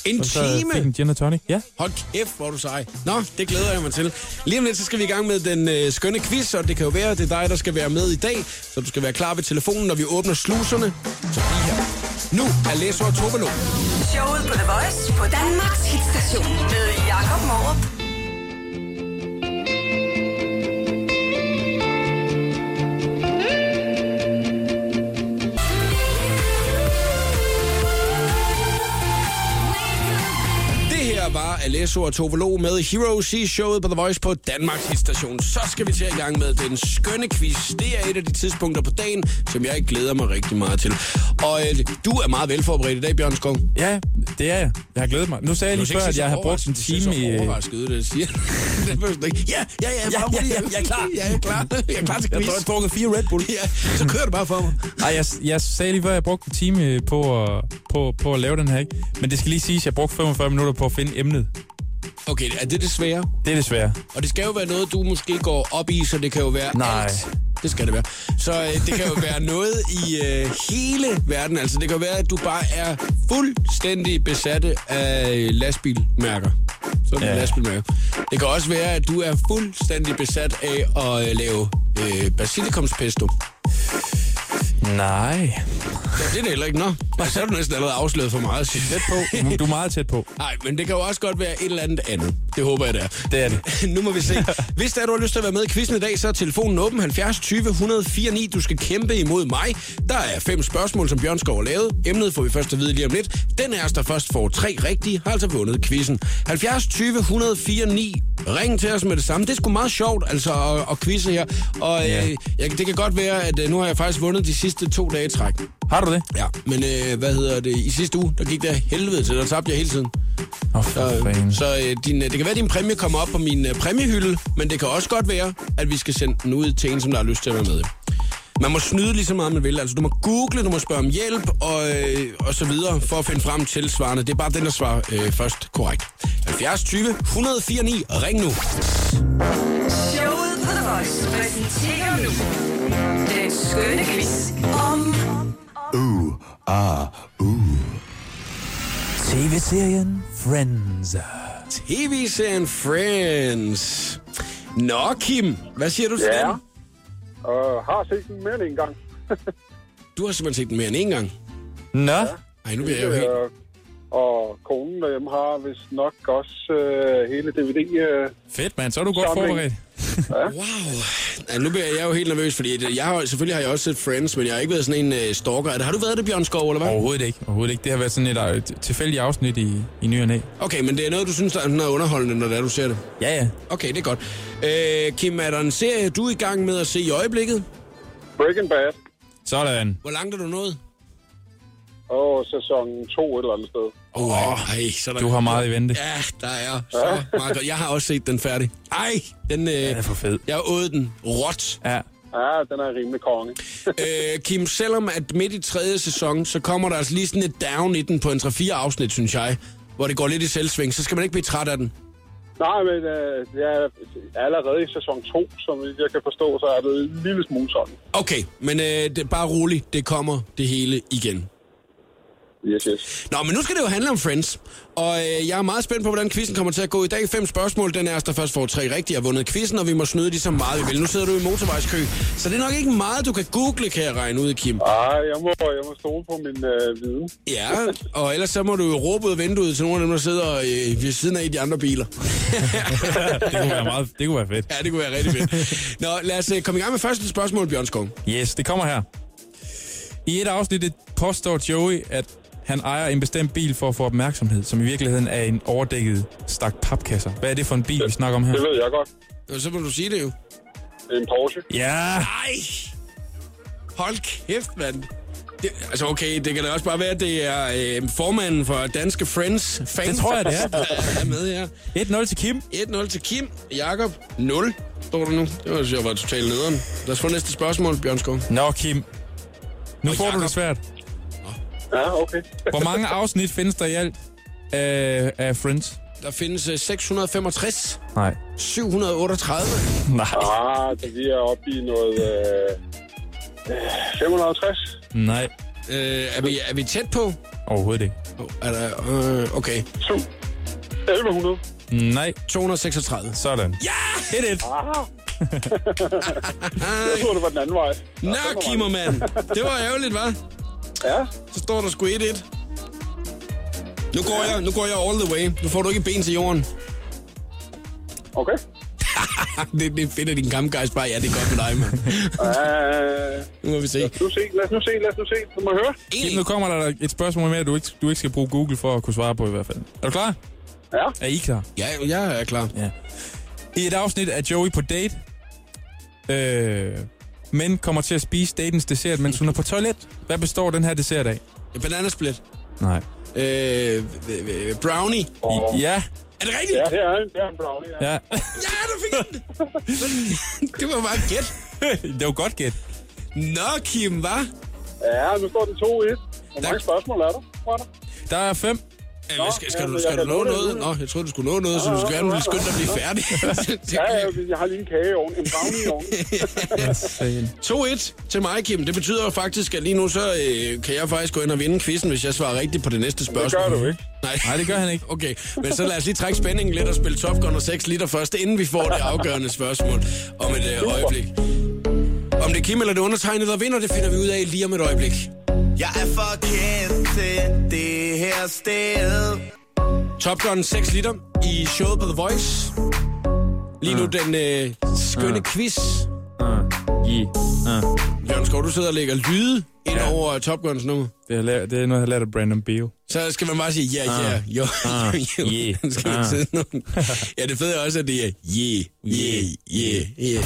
S1: En
S2: Og så
S1: time!
S2: fik en gin og tonic. Ja.
S1: Hold kæft, hvor er du sej. Nå, det glæder jeg mig til. Lige om lidt, så skal vi i gang med den øh, skønne quiz, og det kan jo være, at det er dig, der skal være med i dag. Så du skal være klar ved telefonen, når vi åbner sluserne. Så lige her. Nu er Læsø og Tobelo.
S3: Showet på The Voice på Danmarks hitstation med Jakob Morup.
S1: Det her var Alesso og Tovolo med Heroes i showet på The Voice på Danmarks Hitstation. Så skal vi til i gang med den skønne quiz. Det er et af de tidspunkter på dagen, som jeg glæder mig rigtig meget til. Og øh, du er meget velforberedt i dag, Bjørn Skov.
S2: Ja, det er jeg. Jeg har glædet mig. Nu sagde jeg lige før, at jeg har brugt en time i...
S1: Det er så overrasket ud, det siger. det behøver du ikke. Ja, ja, ja,
S2: Ja,
S1: bare
S2: ja,
S1: rolig.
S2: ja, jeg er klar.
S1: Ja, jeg er klar. Jeg er klar til
S2: Jeg
S1: quiz.
S2: tror, jeg har drukket fire Red Bull.
S1: Ja, så kører du bare for mig.
S2: Nej, jeg, jeg sagde lige før, at jeg brugte en time øh, på at, på, på at lave den her, ikke? Men det skal lige siges, at jeg brugte 45 minutter på at finde emnet.
S1: Okay, er det det svære?
S2: Det er det svære.
S1: Og det skal jo være noget, du måske går op i, så det kan jo være
S2: Nej.
S1: alt. Det skal det være. Så øh, det kan jo være noget i øh, hele verden. Altså, det kan jo være, at du bare er fuldstændig besatte af øh, lastbilmærker. Så ja.
S2: Ja.
S1: lastbilmærker. Det kan også være, at du er fuldstændig besat af at øh, lave øh, basilikumspesto.
S2: Nej.
S1: Det er det heller ikke, nå. Og så er du næsten allerede afsløret for meget, synes jeg.
S2: Tæt på. Du er meget tæt på.
S1: Nej, men det kan jo også godt være et eller andet andet. Det håber jeg, det er.
S2: Det er det.
S1: nu må vi se. Hvis der er, du har lyst til at være med i quizzen i dag, så er telefonen åben 70 20 104 9. Du skal kæmpe imod mig. Der er fem spørgsmål, som Bjørn Skov har lavet. Emnet får vi først at vide lige om lidt. Den af os, der først får tre rigtige, har altså vundet quizzen. 70 20 104 9. Ring til os med det samme. Det er sgu meget sjovt, altså, at, at quizze her. Og
S2: Ja.
S1: øh, jeg, det kan godt være, at øh, nu har jeg faktisk vundet de sidste to dage i træk.
S2: Har du det?
S1: Ja, men øh, hvad hedder det? I sidste uge, der gik der helvede til, der tabte jeg hele tiden.
S2: Åh, oh, for
S1: Så, øh,
S2: fanden.
S1: så øh, din, øh, det kan være, at din præmie kommer op på min øh, præmiehylde, men det kan også godt være, at vi skal sende den ud til en, som der har lyst til at være med. Man må snyde lige så meget, man vil. Altså, du må google, du må spørge om hjælp og, øh, og så videre, for at finde frem til svarene. Det er bare den, der svarer øh, først korrekt. 70 20 104 9. Ring nu.
S3: Showet på The Voice præsenterer nu den skønne quiz om
S9: TV-serien Friends.
S1: TV-serien Friends. Nå, Kim. Hvad siger du til
S10: Ja.
S1: den?
S10: Og har Øh, set den mere end en gang.
S1: Du har simpelthen set den mere end én gang.
S2: Nå,
S1: Ej, nu bliver jeg jo helt...
S10: Øh, og konen derhjemme har vist nok også øh, hele DVD. Øh,
S2: Fedt, mand. Så er du godt
S10: Samling.
S2: forberedt.
S1: Wow. Ja, nu bliver jeg jo helt nervøs, fordi at jeg har, selvfølgelig har jeg også set Friends, men jeg har ikke været sådan en øh, stalker. Er det- Har du været det, Bjørn Skov, eller hvad?
S2: Overhovedet ikke. Overhovedet ikke. Det har været sådan et, øh, t- tilfældigt afsnit i, i ny og næ.
S1: Okay, men det er noget, du synes, der er noget underholdende, når det er, du ser det.
S2: Ja, ja.
S1: Okay, det er godt. Øh, Kim, er der en serie, du er i gang med at se i øjeblikket?
S10: Breaking Bad
S2: Sådan.
S1: Hvor langt er du nået?
S10: og sæson 2 et eller andet sted.
S1: Åh, oh, ej, så er der...
S2: Du har meget i vente.
S1: Ja, der er så meget godt. Jeg har også set den færdig. Ej, den... Øh,
S2: Den er for fed.
S1: jeg åd den råt.
S2: Ja.
S10: Ja, den er rimelig konge.
S1: Øh, Kim, selvom at midt i tredje sæson, så kommer der altså lige sådan et down i den på en 3-4 afsnit, synes jeg, hvor det går lidt i selvsving, så skal man ikke blive træt af den.
S10: Nej, men øh, jeg er allerede i sæson 2, som jeg kan forstå, så er det en lille smule sådan.
S1: Okay, men øh, det, bare roligt, det kommer det hele igen.
S10: Yes, yes.
S1: Nå, men nu skal det jo handle om Friends. Og øh, jeg er meget spændt på, hvordan quizzen kommer til at gå i dag. Fem spørgsmål. Den er os, der først får tre rigtige, har vundet quizzen, og vi må snyde de så meget, vi vil. Nu sidder du i motorvejskø, så det er nok ikke meget, du kan google, kan jeg regne ud, Kim.
S10: Ej, Ah, jeg må, jeg må stole på min øh, viden.
S1: Ja, og ellers så må du jo råbe ud af vinduet til nogle af dem, der sidder øh, ved siden af i de andre biler.
S2: Det kunne være, meget, det kunne være fedt.
S1: Ja, det kunne være rigtig fedt. Nå, lad os øh, komme i gang med første spørgsmål, Bjørn Skov.
S2: Yes, det kommer her. I et afsnit det påstår Joey, at han ejer en bestemt bil for at få opmærksomhed, som i virkeligheden er en overdækket stak papkasser. Hvad er det for en bil, vi snakker om her?
S10: Det ved jeg godt.
S1: Nå, så må du sige det jo.
S10: En Porsche.
S2: Ja,
S1: Ej! Hold kæft, mand. Det, altså okay, det kan da også bare være, at det er øh, formanden for Danske Friends. Fan
S2: Det tror jeg, det er.
S1: er. er med her.
S2: 1-0 til Kim.
S1: 1-0 til Kim. Jakob 0. Står der nu? Det var, jeg var totalt nederen. Lad os få næste spørgsmål, Bjørn Skov.
S2: Nå, Kim. Nu
S1: Og
S2: får du
S1: Jakob.
S2: det svært.
S10: Ja, okay.
S2: Hvor mange afsnit findes der i alt af, af Friends?
S1: Der findes øh, 665,
S2: Nej.
S1: 738,
S2: Nej.
S10: Ah, så vi er oppe i noget... Øh, øh, 560.
S2: Nej.
S1: Øh, er, vi, er vi tæt på?
S2: Overhovedet ikke.
S1: Oh, er der, øh, okay,
S10: 7. 1100.
S2: Nej.
S1: 236.
S2: Sådan. Ja! 1-1.
S10: Ah. Jeg troede, det var den anden vej.
S1: Nå, Kimmermand. Det var ærgerligt, hva'?
S10: Ja,
S1: Så står der sgu 1-1. Nu går jeg, nu går jeg all the way. Nu får du ikke ben til jorden.
S10: okay.
S1: Det, det er fedt, at din kampgejst bare, ja, det er godt for dig, mand.
S10: Uh,
S1: Nu må vi se.
S10: nu se, lad os nu se, lad os nu se. Du må høre.
S2: Kim, nu kommer der et spørgsmål mere, du ikke, du ikke skal bruge Google for at kunne svare på i hvert fald. Er du klar?
S10: Ja.
S2: Er I klar?
S1: Ja, jeg er klar.
S2: I et afsnit er Joey på date, øh, men kommer til at spise datens dessert, mens hun er på toilet. Hvad består den her dessert af?
S1: Bananasplit.
S2: Nej.
S1: Øh, øh, øh, brownie.
S2: I, ja,
S1: Er det rigtigt?
S10: Ja, det er en, det er en brownie. Ja.
S2: ja.
S1: Ja, du fik den. det var bare et gæt.
S2: det var godt gæt.
S1: Nå, Kim, hva'?
S10: ja, nu står det 2-1. Hvor mange spørgsmål er der? Var der?
S2: Der er fem.
S1: Øh, skal, skal,
S10: ja,
S1: du,
S10: men
S1: skal
S10: jeg
S1: du
S10: kan
S1: nå
S10: nå det
S1: noget?
S10: nu.
S1: Nå, jeg troede, du skulle nå noget, så du skal gerne lige skynde dig at blive færdig.
S10: Ja, ja, jeg har lige en kage i ovnen. En brownie i ovnen.
S2: Ja, sagen.
S1: 2-1 til mig, Kim. Det betyder jo faktisk, at lige nu så øh, kan jeg faktisk gå ind og vinde quizzen, hvis jeg svarer rigtigt på det næste spørgsmål.
S10: gør du ikke.
S1: Nej.
S2: Nej, det gør han ikke.
S1: Okay, men så lad os lige trække spændingen lidt og spille Top Gun og 6 liter først, inden vi får det afgørende spørgsmål om et øh, øjeblik. Om det er Kim eller det undertegnede, der vinder, det finder vi ud af lige om et øjeblik.
S6: Jeg er for kendt til det her sted.
S1: Top Gun 6 liter i showet på The Voice. Lige nu den øh, skønne quiz.
S2: I. Ja.
S1: Jørgen Skov, du sidder og lægger lyde ind over øh, Top Guns nummer.
S2: Det, er, la- det er noget, jeg har lært af Brandon Beal.
S1: Så skal man bare sige, ja, ja, jo,
S2: Ah,
S1: jo,
S2: yeah,
S1: jo. Skal man
S2: ah.
S1: sidde nogen- Ja, det fede er også, at det er, yeah, yeah, yeah, yeah.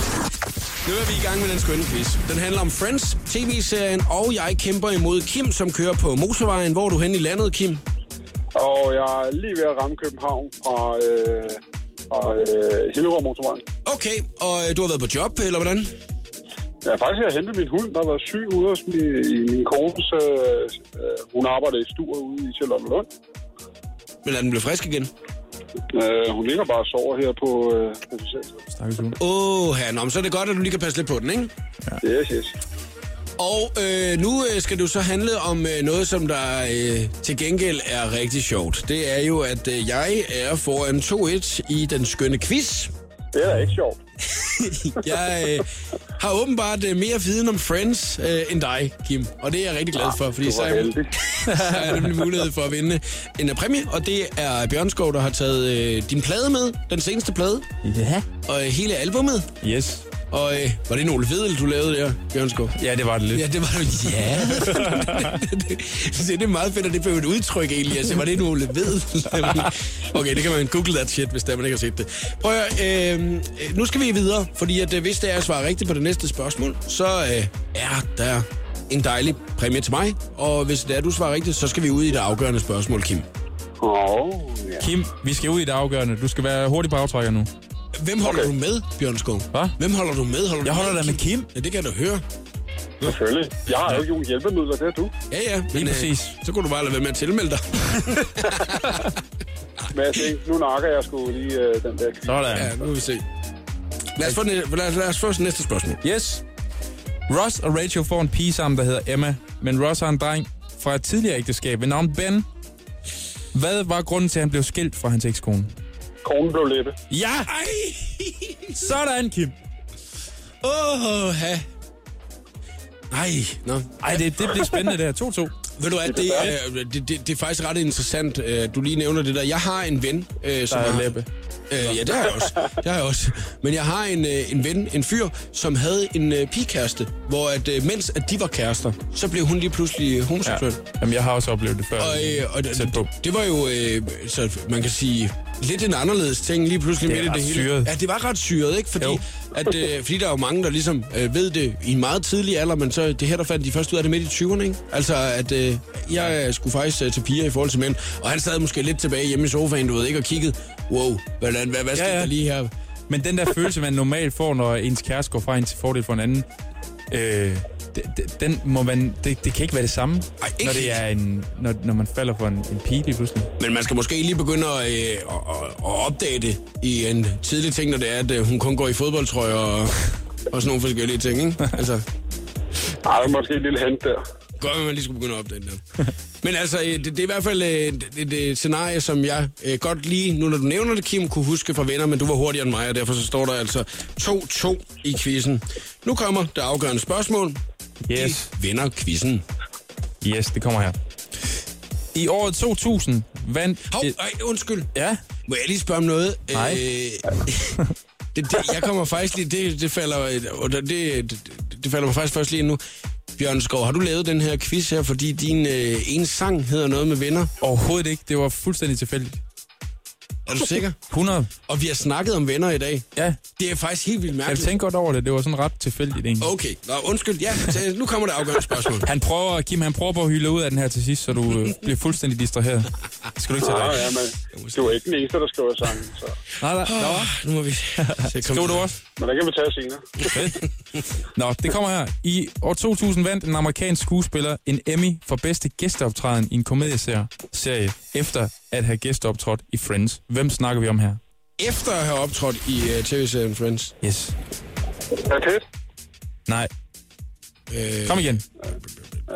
S1: Nu er vi i gang med den skønne quiz. Den handler om Friends, tv-serien, og jeg kæmper imod Kim, som kører på motorvejen. Hvor er du hen i landet, Kim?
S10: Og jeg er lige ved at ramme København fra, øh, fra øh, Hillerød Motorvejen.
S1: Okay, og øh, du har været på job, eller hvordan?
S10: Ja, faktisk har jeg hentet min hund, der har været syg ude hos min, i min kones. Øh, øh, hun arbejder i stuer ude i Sjælland Lund.
S1: Men er den blevet frisk igen?
S10: Øh, hun ligger bare og sover her på... Øh, på patienten.
S2: Stakkels uge.
S1: Åh, oh, nå, men så er det godt, at du lige kan passe lidt på den, ikke?
S10: yes, yes.
S1: Og øh, nu øh, skal du så handle om øh, noget, som der øh, til gengæld er rigtig sjovt. Det er jo, at øh, jeg er foran 2-1 i den skønne quiz.
S10: Det er da ikke sjovt.
S1: jeg øh, har åbenbart øh, mere viden om Friends øh, end dig, Kim. Og det er jeg rigtig glad for, fordi
S10: Ah, du
S1: så
S10: var
S1: er
S10: heldig.
S1: har jeg nemlig mulighed for at vinde en øh, præmie. Og det er Bjørn Skov, der har taget øh, din plade med, den seneste plade.
S2: Ja.
S1: Og øh, hele albummet.
S2: Yes.
S1: Og øh, var det en Ole Vedel, du lavede der, Bjørn Skov?
S2: Ja, det var det lidt.
S1: Ja, det var du. Ja. Så det er meget fedt, at det blev et udtryk egentlig. Altså, var det en Ole Vedel? okay, det kan man google that shit, hvis der man ikke har set det. Prøv at, høre, øh, øh, nu skal vi videre, fordi at, øh, hvis det er at svare rigtigt på det næste spørgsmål, så øh, er der en dejlig præmie til mig. Og hvis det er, du svarer rigtigt, så skal vi ud i det afgørende spørgsmål, Kim.
S10: Åh, ja.
S2: Kim, vi skal ud i det afgørende. Du skal være hurtig på aftrækker nu.
S1: Hvem holder okay. du med, Bjørn Skov?
S2: Hvad?
S1: Hvem holder du med? Holder
S2: Jeg
S1: du
S2: holder da med Kim.
S1: Ja, det kan du høre.
S10: Selvfølgelig. Jeg har jo ikke nogen hjælpemidler, det har du.
S1: Ja, ja. Men,
S2: præcis.
S1: Øh, så kunne du bare lade være med at tilmelde dig.
S10: Men jeg tænkte, nu nakker jeg sgu lige øh, den der kvinde.
S2: Sådan.
S1: Ja, nu vil vi se. Lad os få, næ- lad os, lad os få os næste spørgsmål.
S2: Yes. Ross og Rachel får en pige sammen, der hedder Emma, men Ross har en dreng fra et tidligere ægteskab ved navn Ben. Hvad var grunden til, at han blev skilt fra hans ekskone?
S10: Kornen blev lette.
S2: Ja!
S1: Ej!
S2: Sådan, Kim.
S1: Åh, ha. Nej, nå.
S2: Ej, det, det bliver spændende det her. 2-2.
S1: Ved du at det, er, øh, det, det, det er faktisk ret interessant, øh, du lige nævner det der. Jeg har en ven, øh, som
S2: Der er
S1: har-
S2: læbe.
S1: Øh, ja, det har jeg også. Det har jeg også. Men jeg har en, øh, en ven, en fyr, som havde en øh, pigekæreste, hvor at, øh, mens at de var kærester, så blev hun lige pludselig øh, homoseksuel. Ja.
S2: Jamen, jeg har også oplevet det før.
S1: Og, øh, og
S2: Tæt på.
S1: det, det var jo, øh, så man kan sige, lidt en anderledes ting lige pludselig
S2: Det er
S1: midt i det
S2: ret
S1: hele.
S2: syret.
S1: Ja, det var ret syret, ikke? Fordi,
S2: Jo.
S1: at, øh, fordi der er jo mange, der ligesom øh, ved det i en meget tidlig alder, men så det her, der fandt de først ud af det midt i 20'erne, ikke? Altså, at øh, jeg skulle faktisk øh, til piger i forhold til mænd, og han sad måske lidt tilbage hjemme i sofaen, du ved ikke, og kiggede, wow, hvad, hvad, hvad, hvad skete ja,
S2: ja.
S1: ja. der lige her?
S2: Men den der følelse, man normalt får, når ens kæreste går fra en til fordel for en anden, øh, d- d- den må man, det, det kan ikke være det samme,
S1: Ej, ikke
S2: når, det er en, når, når man falder for en, en pige lige pludselig.
S1: Men man skal måske lige begynde at, øh, at, at, at opdage det i en tidlig ting, når det er, at øh, hun kun går i fodboldtrøjer og, og sådan nogle forskellige ting, ikke? Altså,
S10: Ej, der er måske et lille hent der.
S1: Godt, at man lige skulle begynde at opdage den der. Men altså, øh, det, det er i hvert fald øh, et, et, et scenarie, som jeg øh, godt lige, nu når du nævner det, Kim, kunne huske fra venner, men du var hurtigere end mig, og derfor så står der altså 2-2 i quizzen. Nu kommer det afgørende spørgsmål.
S2: Yes.
S1: De vinder quizzen.
S2: Yes, det kommer her. I året 2000 vandt...
S1: Hov,
S2: et-
S1: ej, undskyld.
S2: Ja,
S1: Må jeg lige spørge om noget?
S2: Nej.
S1: Øh, det, det, jeg kommer faktisk lige, det, det falder, og det, det, det falder mig faktisk først lige ind nu. Bjørn Skov, har du lavet den her quiz her, fordi din øh, ene sang hedder noget med venner?
S2: overhovedet ikke. Det var fuldstændig tilfældigt.
S1: Er du sikker?
S2: 100?
S1: Og vi har snakket om venner i dag.
S2: Ja.
S1: Det er faktisk helt vildt
S2: Jeg
S1: mærkeligt.
S2: tænkte godt over det. Det var sådan ret tilfældigt egentlig.
S1: Okay, Nå, undskyld. Ja, så nu kommer det afgørende spørgsmål.
S2: Han prøver, Kim, han prøver på at hylde ud af den her til sidst, så du øh, bliver fuldstændig distraheret. Det skal du ikke tage
S10: Nå,
S2: dig.
S10: ja, men du er ikke den eneste, der skriver sangen, så...
S2: Nej, nej, nej.
S1: Åh, nu må vi...
S2: Skriv du også.
S10: Men der kan vi tage senere.
S2: Fedt. Nå, det kommer her. I år 2000 vandt en amerikansk skuespiller en Emmy for bedste gæsteoptræden i en komedieserie, serie, efter at have gæsteoptrådt i Friends. Hvem snakker vi om her?
S1: Efter at have optrådt i uh, tv-serien Friends.
S2: Yes.
S10: Er det?
S2: Nej.
S1: Uh,
S2: Kom igen.
S10: Øh,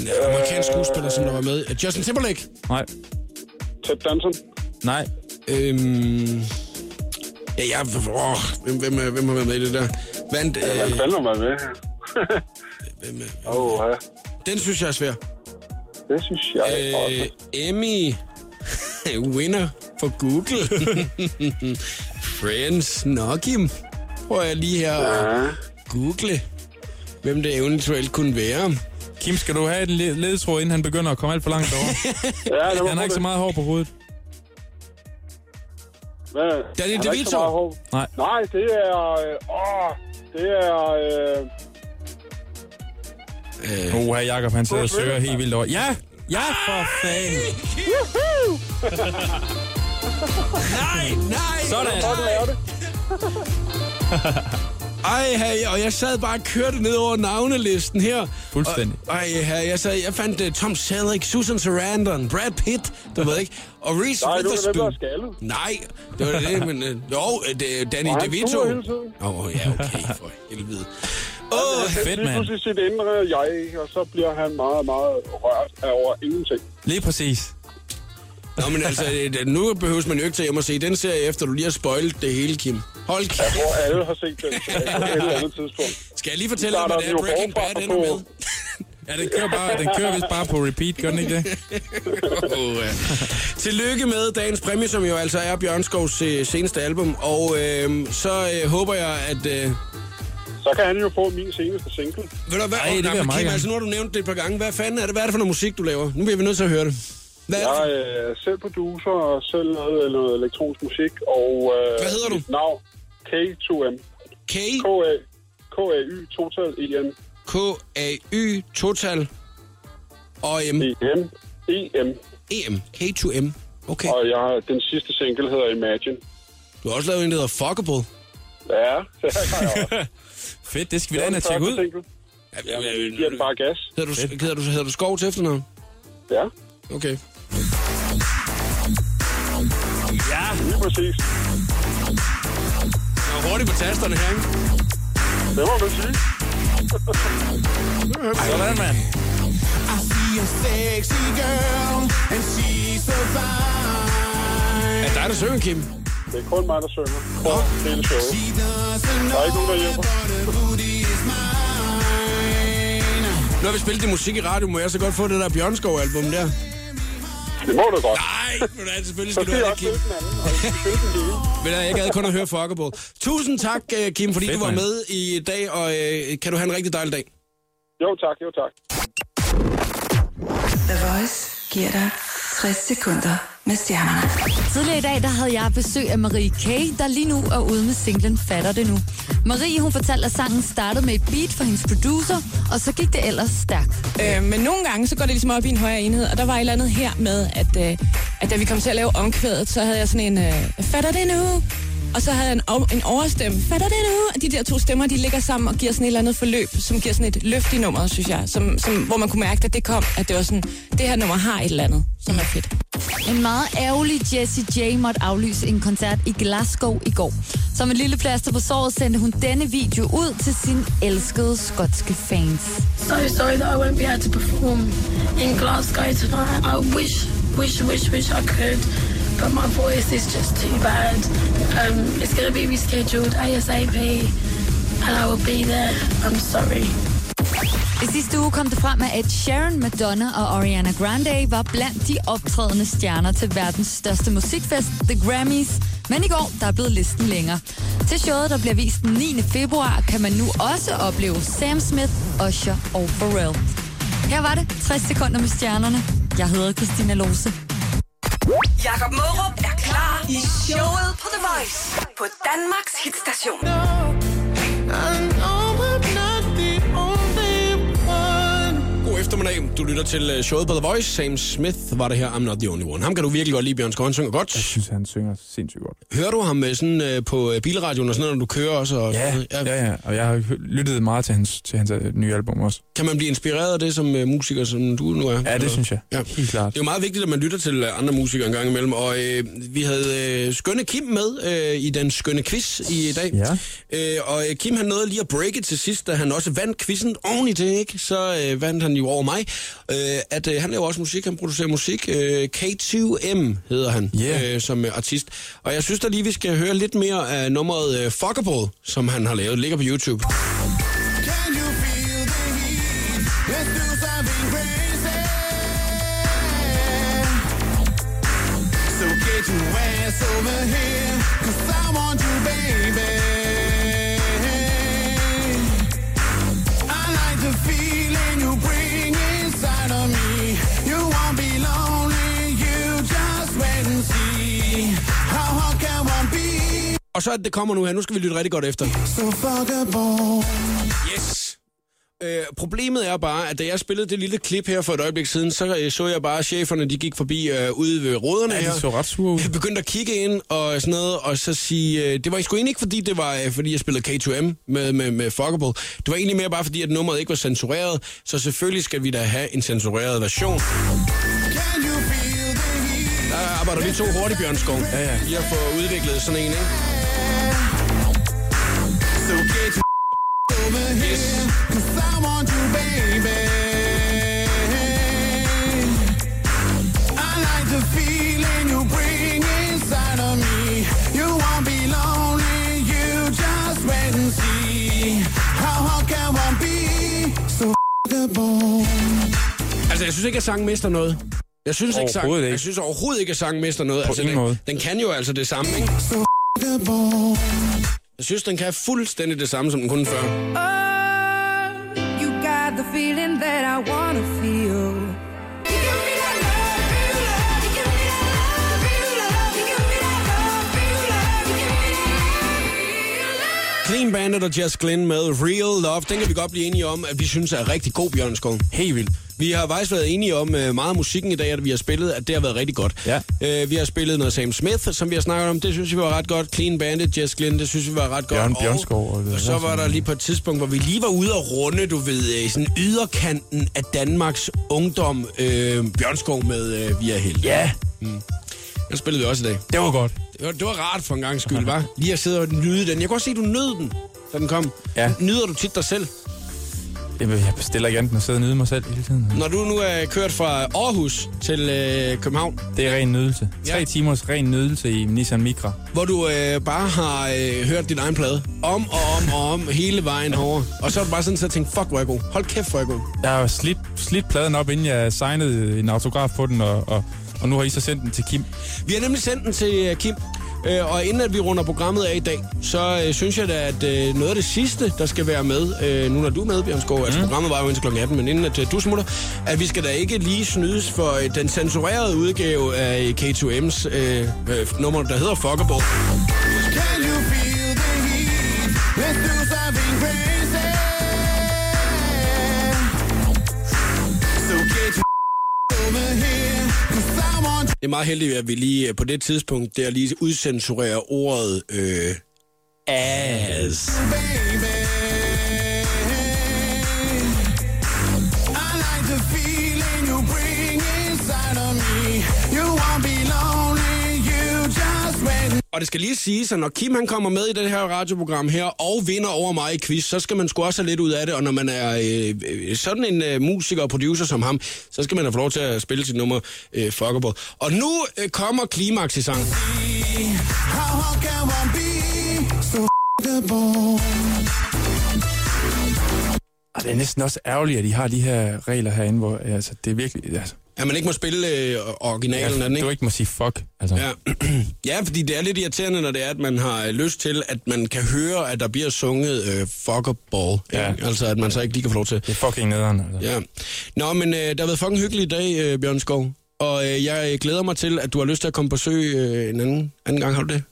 S1: en øh, amerikansk skuespiller, som der var med. Uh, Justin Timberlake.
S2: Nej.
S10: Ted Danson.
S2: Nej.
S1: Øhm... Ja, jeg... Åh, hvem, hvem, er- hvem har været med i det der? Vandt...
S10: Hvad
S1: Øh,
S10: fanden har man med her?
S1: hvem, er-
S10: Åh, oh, ja.
S1: den synes jeg er svær.
S10: Det synes jeg også.
S1: Øh, Emmy... Winner for Google. Friends. Nå, Kim. Prøver jeg lige her at
S10: Ja.
S1: google, hvem det eventuelt kunne være.
S2: Kim, skal du have en le- ledetråd, inden han begynder at komme alt for langt over?
S10: Ja, det var
S2: Han har ikke så meget hår på hovedet.
S10: Hvad?
S1: Danny
S10: Han har ikke så
S1: DeVito.
S10: meget hår.
S2: Nej.
S10: Nej, det er... Øh, åh, det er... Øh,
S2: Åh, her Jacob, han sidder og søger helt vildt over. Ja! Ja, for fanden!
S1: Nej, nej!
S2: Sådan.
S10: hvor er det?
S1: Ej, hey, og jeg sad bare og kørte ned over navnelisten her.
S2: Fuldstændig.
S1: Og, ej, hey, jeg, sad, jeg fandt uh, Tom Selleck, Susan Sarandon, Brad Pitt, du ved ikke, og Reese
S10: Nej, nu er det hvem, der
S1: Witherspoon.
S10: er skaldet.
S1: Nej, det var det, men... Uh, jo, øh, det er Danny
S10: Og han
S1: DeVito.
S10: suger hele tiden.
S1: Åh, oh, ja, okay, for helvede. Åh, oh,
S2: Fedt,
S10: Lige
S2: mand.
S10: pludselig sit indre jeg, og så bliver han meget, meget rørt af over ingenting.
S2: Lige præcis.
S1: Nå, men altså, øh, nu behøves man jo ikke tage hjem og se den serie, efter du lige har spoilet det hele, Kim. Hold kæft. Jeg
S10: tror, alle har set den på et eller andet tidspunkt.
S1: Skal jeg lige fortælle dig, hvordan Breaking Bad ender med?
S2: Ja, den kører, bare, den kører vist bare på repeat, gør den ikke det?
S1: oh, ja. Tillykke med dagens præmie, som jo altså er Bjørn Skovs øh, seneste album. Og øh, så øh, håber jeg, at... Øh,
S10: Så kan han jo få min seneste single.
S1: ved du hvad?
S10: Ej,
S1: Ej,
S10: det vil jeg
S1: det
S10: meget
S1: Kim,
S10: gerne.
S1: altså, nu har du nævnt det et par gange. Hvad fanden er det, hvad er det for noget musik, du laver? Nu bliver vi nødt til at høre det. Hvad
S10: jeg er Øh, selv producer og selv lavet noget elektronisk musik. Og, øh, Hvad hedder du? navn K2M.
S1: K?
S10: K-A. K-A-Y Total E E-N.
S1: K-A-Y Total og M. E
S10: E-M. E-M.
S1: EM. K2M. Okay.
S10: E Og jeg, har- den sidste single hedder Imagine.
S1: Du har også lavet en, der hedder Fuckable.
S10: Ja, det har jeg også.
S2: Fedt, det skal
S1: vi da ind og tjekke ud.
S10: Jamen, jeg giver den bare gas.
S1: Hedder du, hedder du, hedder du Skov til efternavn?
S10: Ja.
S1: Okay.
S10: Ja, lige præcis.
S1: Jeg er hurtig på tasterne her, ikke?
S10: Det må man sige.
S2: Sådan, mand.
S11: I see a sexy girl, and she's so fine.
S1: Er det dig, der synger, Kim?
S10: Det er kun mig, der synger. Kun hele showet. Der er ikke nogen, der hjælper.
S1: Nu har vi spillet det musik i radio, må jeg så godt få det der Bjørnskov-album der?
S10: Det må du godt.
S1: Nej, men det er selvfølgelig skal
S10: Så
S1: du have
S10: skal
S1: det, Kim. Ved du hvad, jeg gad kun at høre Fuckable. Tusind tak, øh, Kim, fordi
S10: Fedt,
S1: du var
S10: mand.
S1: med i dag, og øh, kan du have en rigtig dejlig dag.
S10: Jo tak, jo tak.
S3: The Voice giver dig 60 sekunder med stjernerne.
S7: Tidligere i dag der havde jeg besøg af Marie K., der lige nu er ude med singlen Fatter det nu. Marie hun fortalte, at sangen startede med et beat fra hendes producer, og så gik det ellers stærkt.
S12: Øh, men nogle gange, så går det ligesom op i en højere enhed, og der var et eller andet her med, at, øh, at da vi kom til at lave omkvædet, så havde jeg sådan en, øh, fatter det nu? Og så havde jeg en, o- en overstemme, fatter det nu? Og de der to stemmer, de ligger sammen og giver sådan et eller andet forløb, som giver sådan et løft i nummeret, synes jeg. Som, som, hvor man kunne mærke, at det kom, at det var sådan, det her nummer har et eller andet, som er fedt.
S7: En meget ærgerlig Jessie J måtte aflyse en koncert i Glasgow i går. Som en lille plaster på såret sendte hun denne video ud til sine elskede skotske fans.
S8: So sorry that I won't be able to perform in Glasgow tonight. I wish, wish, wish, wish I could, but my voice is just too bad. Um, it's going to be rescheduled ASAP, and I will be there. I'm sorry.
S7: I sidste uge kom det frem, at Ed Sheeran, Madonna og Ariana Grande var blandt de optrædende stjerner til verdens største musikfest, The Grammys. Men i går, der er blevet listen længere. Til showet, der bliver vist den 9. februar, kan man nu også opleve Sam Smith, Usher og Pharrell. Her var det 60 sekunder med stjernerne. Jeg hedder Christina Lose.
S3: Jakob Mørup er klar i showet på The Voice på Danmarks hitstation.
S1: God eftermiddag. Du lytter til øh, showet på The Voice. Sam Smith var det her. I'm not the only one. Ham kan du virkelig godt lide, Bjørn Skov. Han synger godt. Jeg
S2: synes, han synger sindssygt godt.
S1: Hører du ham øh, sådan øh, på øh, bilradioen og sådan noget, når du kører også? Og,
S2: Ja, ja, ja. Og jeg har hø- lyttet meget til hans, til hans øh, nye album også.
S1: Kan man blive inspireret af det som øh, musiker, som du nu er?
S2: Ja, det synes jeg.
S1: Ja.
S2: Helt klart.
S1: Det er jo meget vigtigt, at man lytter til øh, andre musikere en gang imellem, og øh, vi havde øh, skønne Kim med øh, i den skønne quiz i dag.
S2: Ja.
S1: Øh, og øh, Kim han nåede lige at breake til sidst, da han også vandt quizzen oven i det, ikke? Så øh, vandt han jo over mig. Øh, at øh, han laver også musik, han producerer musik. Øh, K2M hedder han yeah. øh, som øh, artist. Og jeg synes da lige, vi skal høre lidt mere af nummeret øh, Fuckable, som han har lavet. Det ligger på YouTube.
S11: Can you feel the heat? Let's do something crazy. So get your ass over here, 'cause I want you, baby. I like the feeling you bring inside of me. You won't be lonely, you just wait and see. How hard can one be?
S1: Og så at det kommer nu her. Nu skal vi lytte rigtig godt efter.
S11: So fuckable.
S1: Yes. Øh, problemet er bare, at da jeg spillede det lille klip her for et øjeblik siden, så øh, så jeg bare, at cheferne de gik forbi øh, ude ved råderne
S2: Ja, de
S1: her.
S2: så ret sure ud.
S1: Jeg begyndte at kigge ind og sådan noget, og så sige... Øh, det var sgu egentlig ikke, fordi det var, øh, fordi jeg spillede K2M med, med, med Fuckable. Det var egentlig mere bare, fordi at nummeret ikke var censureret, så selvfølgelig skal vi da have en censureret version. Der arbejder vi to hurtigt, Bjørn Skov. Ja, ja. I har fået udviklet sådan en, ikke?
S11: So get your over here, 'cause I want you, baby. I like the feeling unforgettable.
S1: Altså, jeg synes ikke, at sangen mister noget. Jeg synes ikke, sang,
S2: Overhovedet
S1: ikke.
S2: ikke.
S1: Jeg synes overhovedet ikke, at sangen mister noget.
S2: På
S1: altså,
S2: ingen
S1: den,
S2: måde.
S1: den kan jo altså det samme, ikke? Jeg synes, den kan fuldstændig det samme, som den kunne før.
S13: You got the feeling that I wanna feel.
S1: Clean Bandit og Jess Glynn med Real Love. Den kan vi godt blive enige om, at vi synes er rigtig god, Bjørn Skov. Helt vildt. Vi har faktisk været enige om øh, meget af musikken i dag, at vi har spillet, at det har været rigtig godt. Ja. Øh, vi har spillet noget Sam Smith, som vi har snakket om. Det synes vi var ret godt. Clean Bandit, Jess Glynn, det synes vi var ret
S2: Bjørn
S1: godt. Og-
S2: Bjørnskov. Og,
S1: Og så var der lige på et tidspunkt, hvor vi lige var ude og runde, du ved, øh, sådan yderkanten af Danmarks ungdom, øh, Bjørnskov med øh, Vi er heldige. Ja. Mm. Den spillede vi også i dag.
S2: Det var godt.
S1: Det var, det var rart for en gang skyld, var. Lige at sidde og nyde den. Jeg kunne også se, at du nød den, da den kom. Ja. Nyder du tit dig selv?
S2: Jamen, jeg bestiller ikke andet end at sidde og nyde mig selv hele tiden.
S1: Når du nu er kørt fra Aarhus til øh, København.
S2: Det er ren nydelse. Tre timers ren nydelse i Nissan Micra.
S1: Hvor du øh, bare har øh, hørt din egen plade. Om og om og om hele vejen over. Og så er du bare sådan, så tænkt, fuck, hvor er jeg god. Hold kæft, hvor er jeg god.
S2: Jeg har jo slidt, slidt pladen op, inden jeg signede en autograf på den, og, og, og nu har I så sendt den til Kim.
S1: Vi har nemlig sendt den til øh, Kim, øh, og inden at vi runder programmet af i dag, så øh, synes jeg da, at øh, noget af det sidste, der skal være med, øh, nu når du er med, Bjørn Skov, altså programmet var jo indtil kl. 18, men inden at øh, du smutter, at vi skal da ikke lige snydes for øh, den censurerede udgave af K2M's øh, øh, nummer, der hedder Fuckerborg.
S11: Can you feel the heat? Let's do something crazy. So get your over here, 'cause I want
S1: Det er meget heldigt, at vi lige øh, på det tidspunkt der lige udcensurerer ordet øh, ass.
S11: I like the feeling you bring inside of me. You won't be lonely, you just wait.
S1: Og det skal lige siges, at når Kim han kommer med i det her radioprogram her og vinder over mig i quiz, så skal man sgu også have lidt ud af det. Og når man er øh, øh, sådan en øh, musiker og producer som ham, så skal man have lov til at spille sit nummer øh, Fuckerbo. Og nu øh, kommer klimaks i sangen.
S11: How hard can one be so f***able?
S2: Og det er næsten også ærgerligt, at I har de her regler herinde, hvor altså, det er virkelig... Altså,
S1: At man ikke må spille øh, originalen af den,
S2: ja, du
S1: ikke?
S2: ikke må sige fuck. Altså.
S1: Ja. ja, fordi det er lidt irriterende, når det er, at man har øh, lyst til, at man kan høre, at der bliver sunget øh, Fuckerbo. Ja. Altså, at man så ikke lige kan få lov til. Det
S2: er fucking nederen. Altså.
S1: Ja. Nå, men øh, det har været fucking hyggeligt i dag, øh, Bjørn Skov. Og øh, jeg øh, glæder mig til, at du har lyst til at komme på besøg øh, en anden, anden gang. Har du det?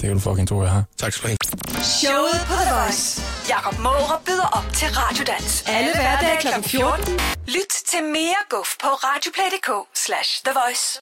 S2: Det er jo fucking to, jeg har.
S1: Tak skal du have.
S3: Showet på The Voice. Jakob Måre byder op til Radiodans. Alle hverdage kl. 14. Lyt til mere guf på radioplay.dk slash The Voice.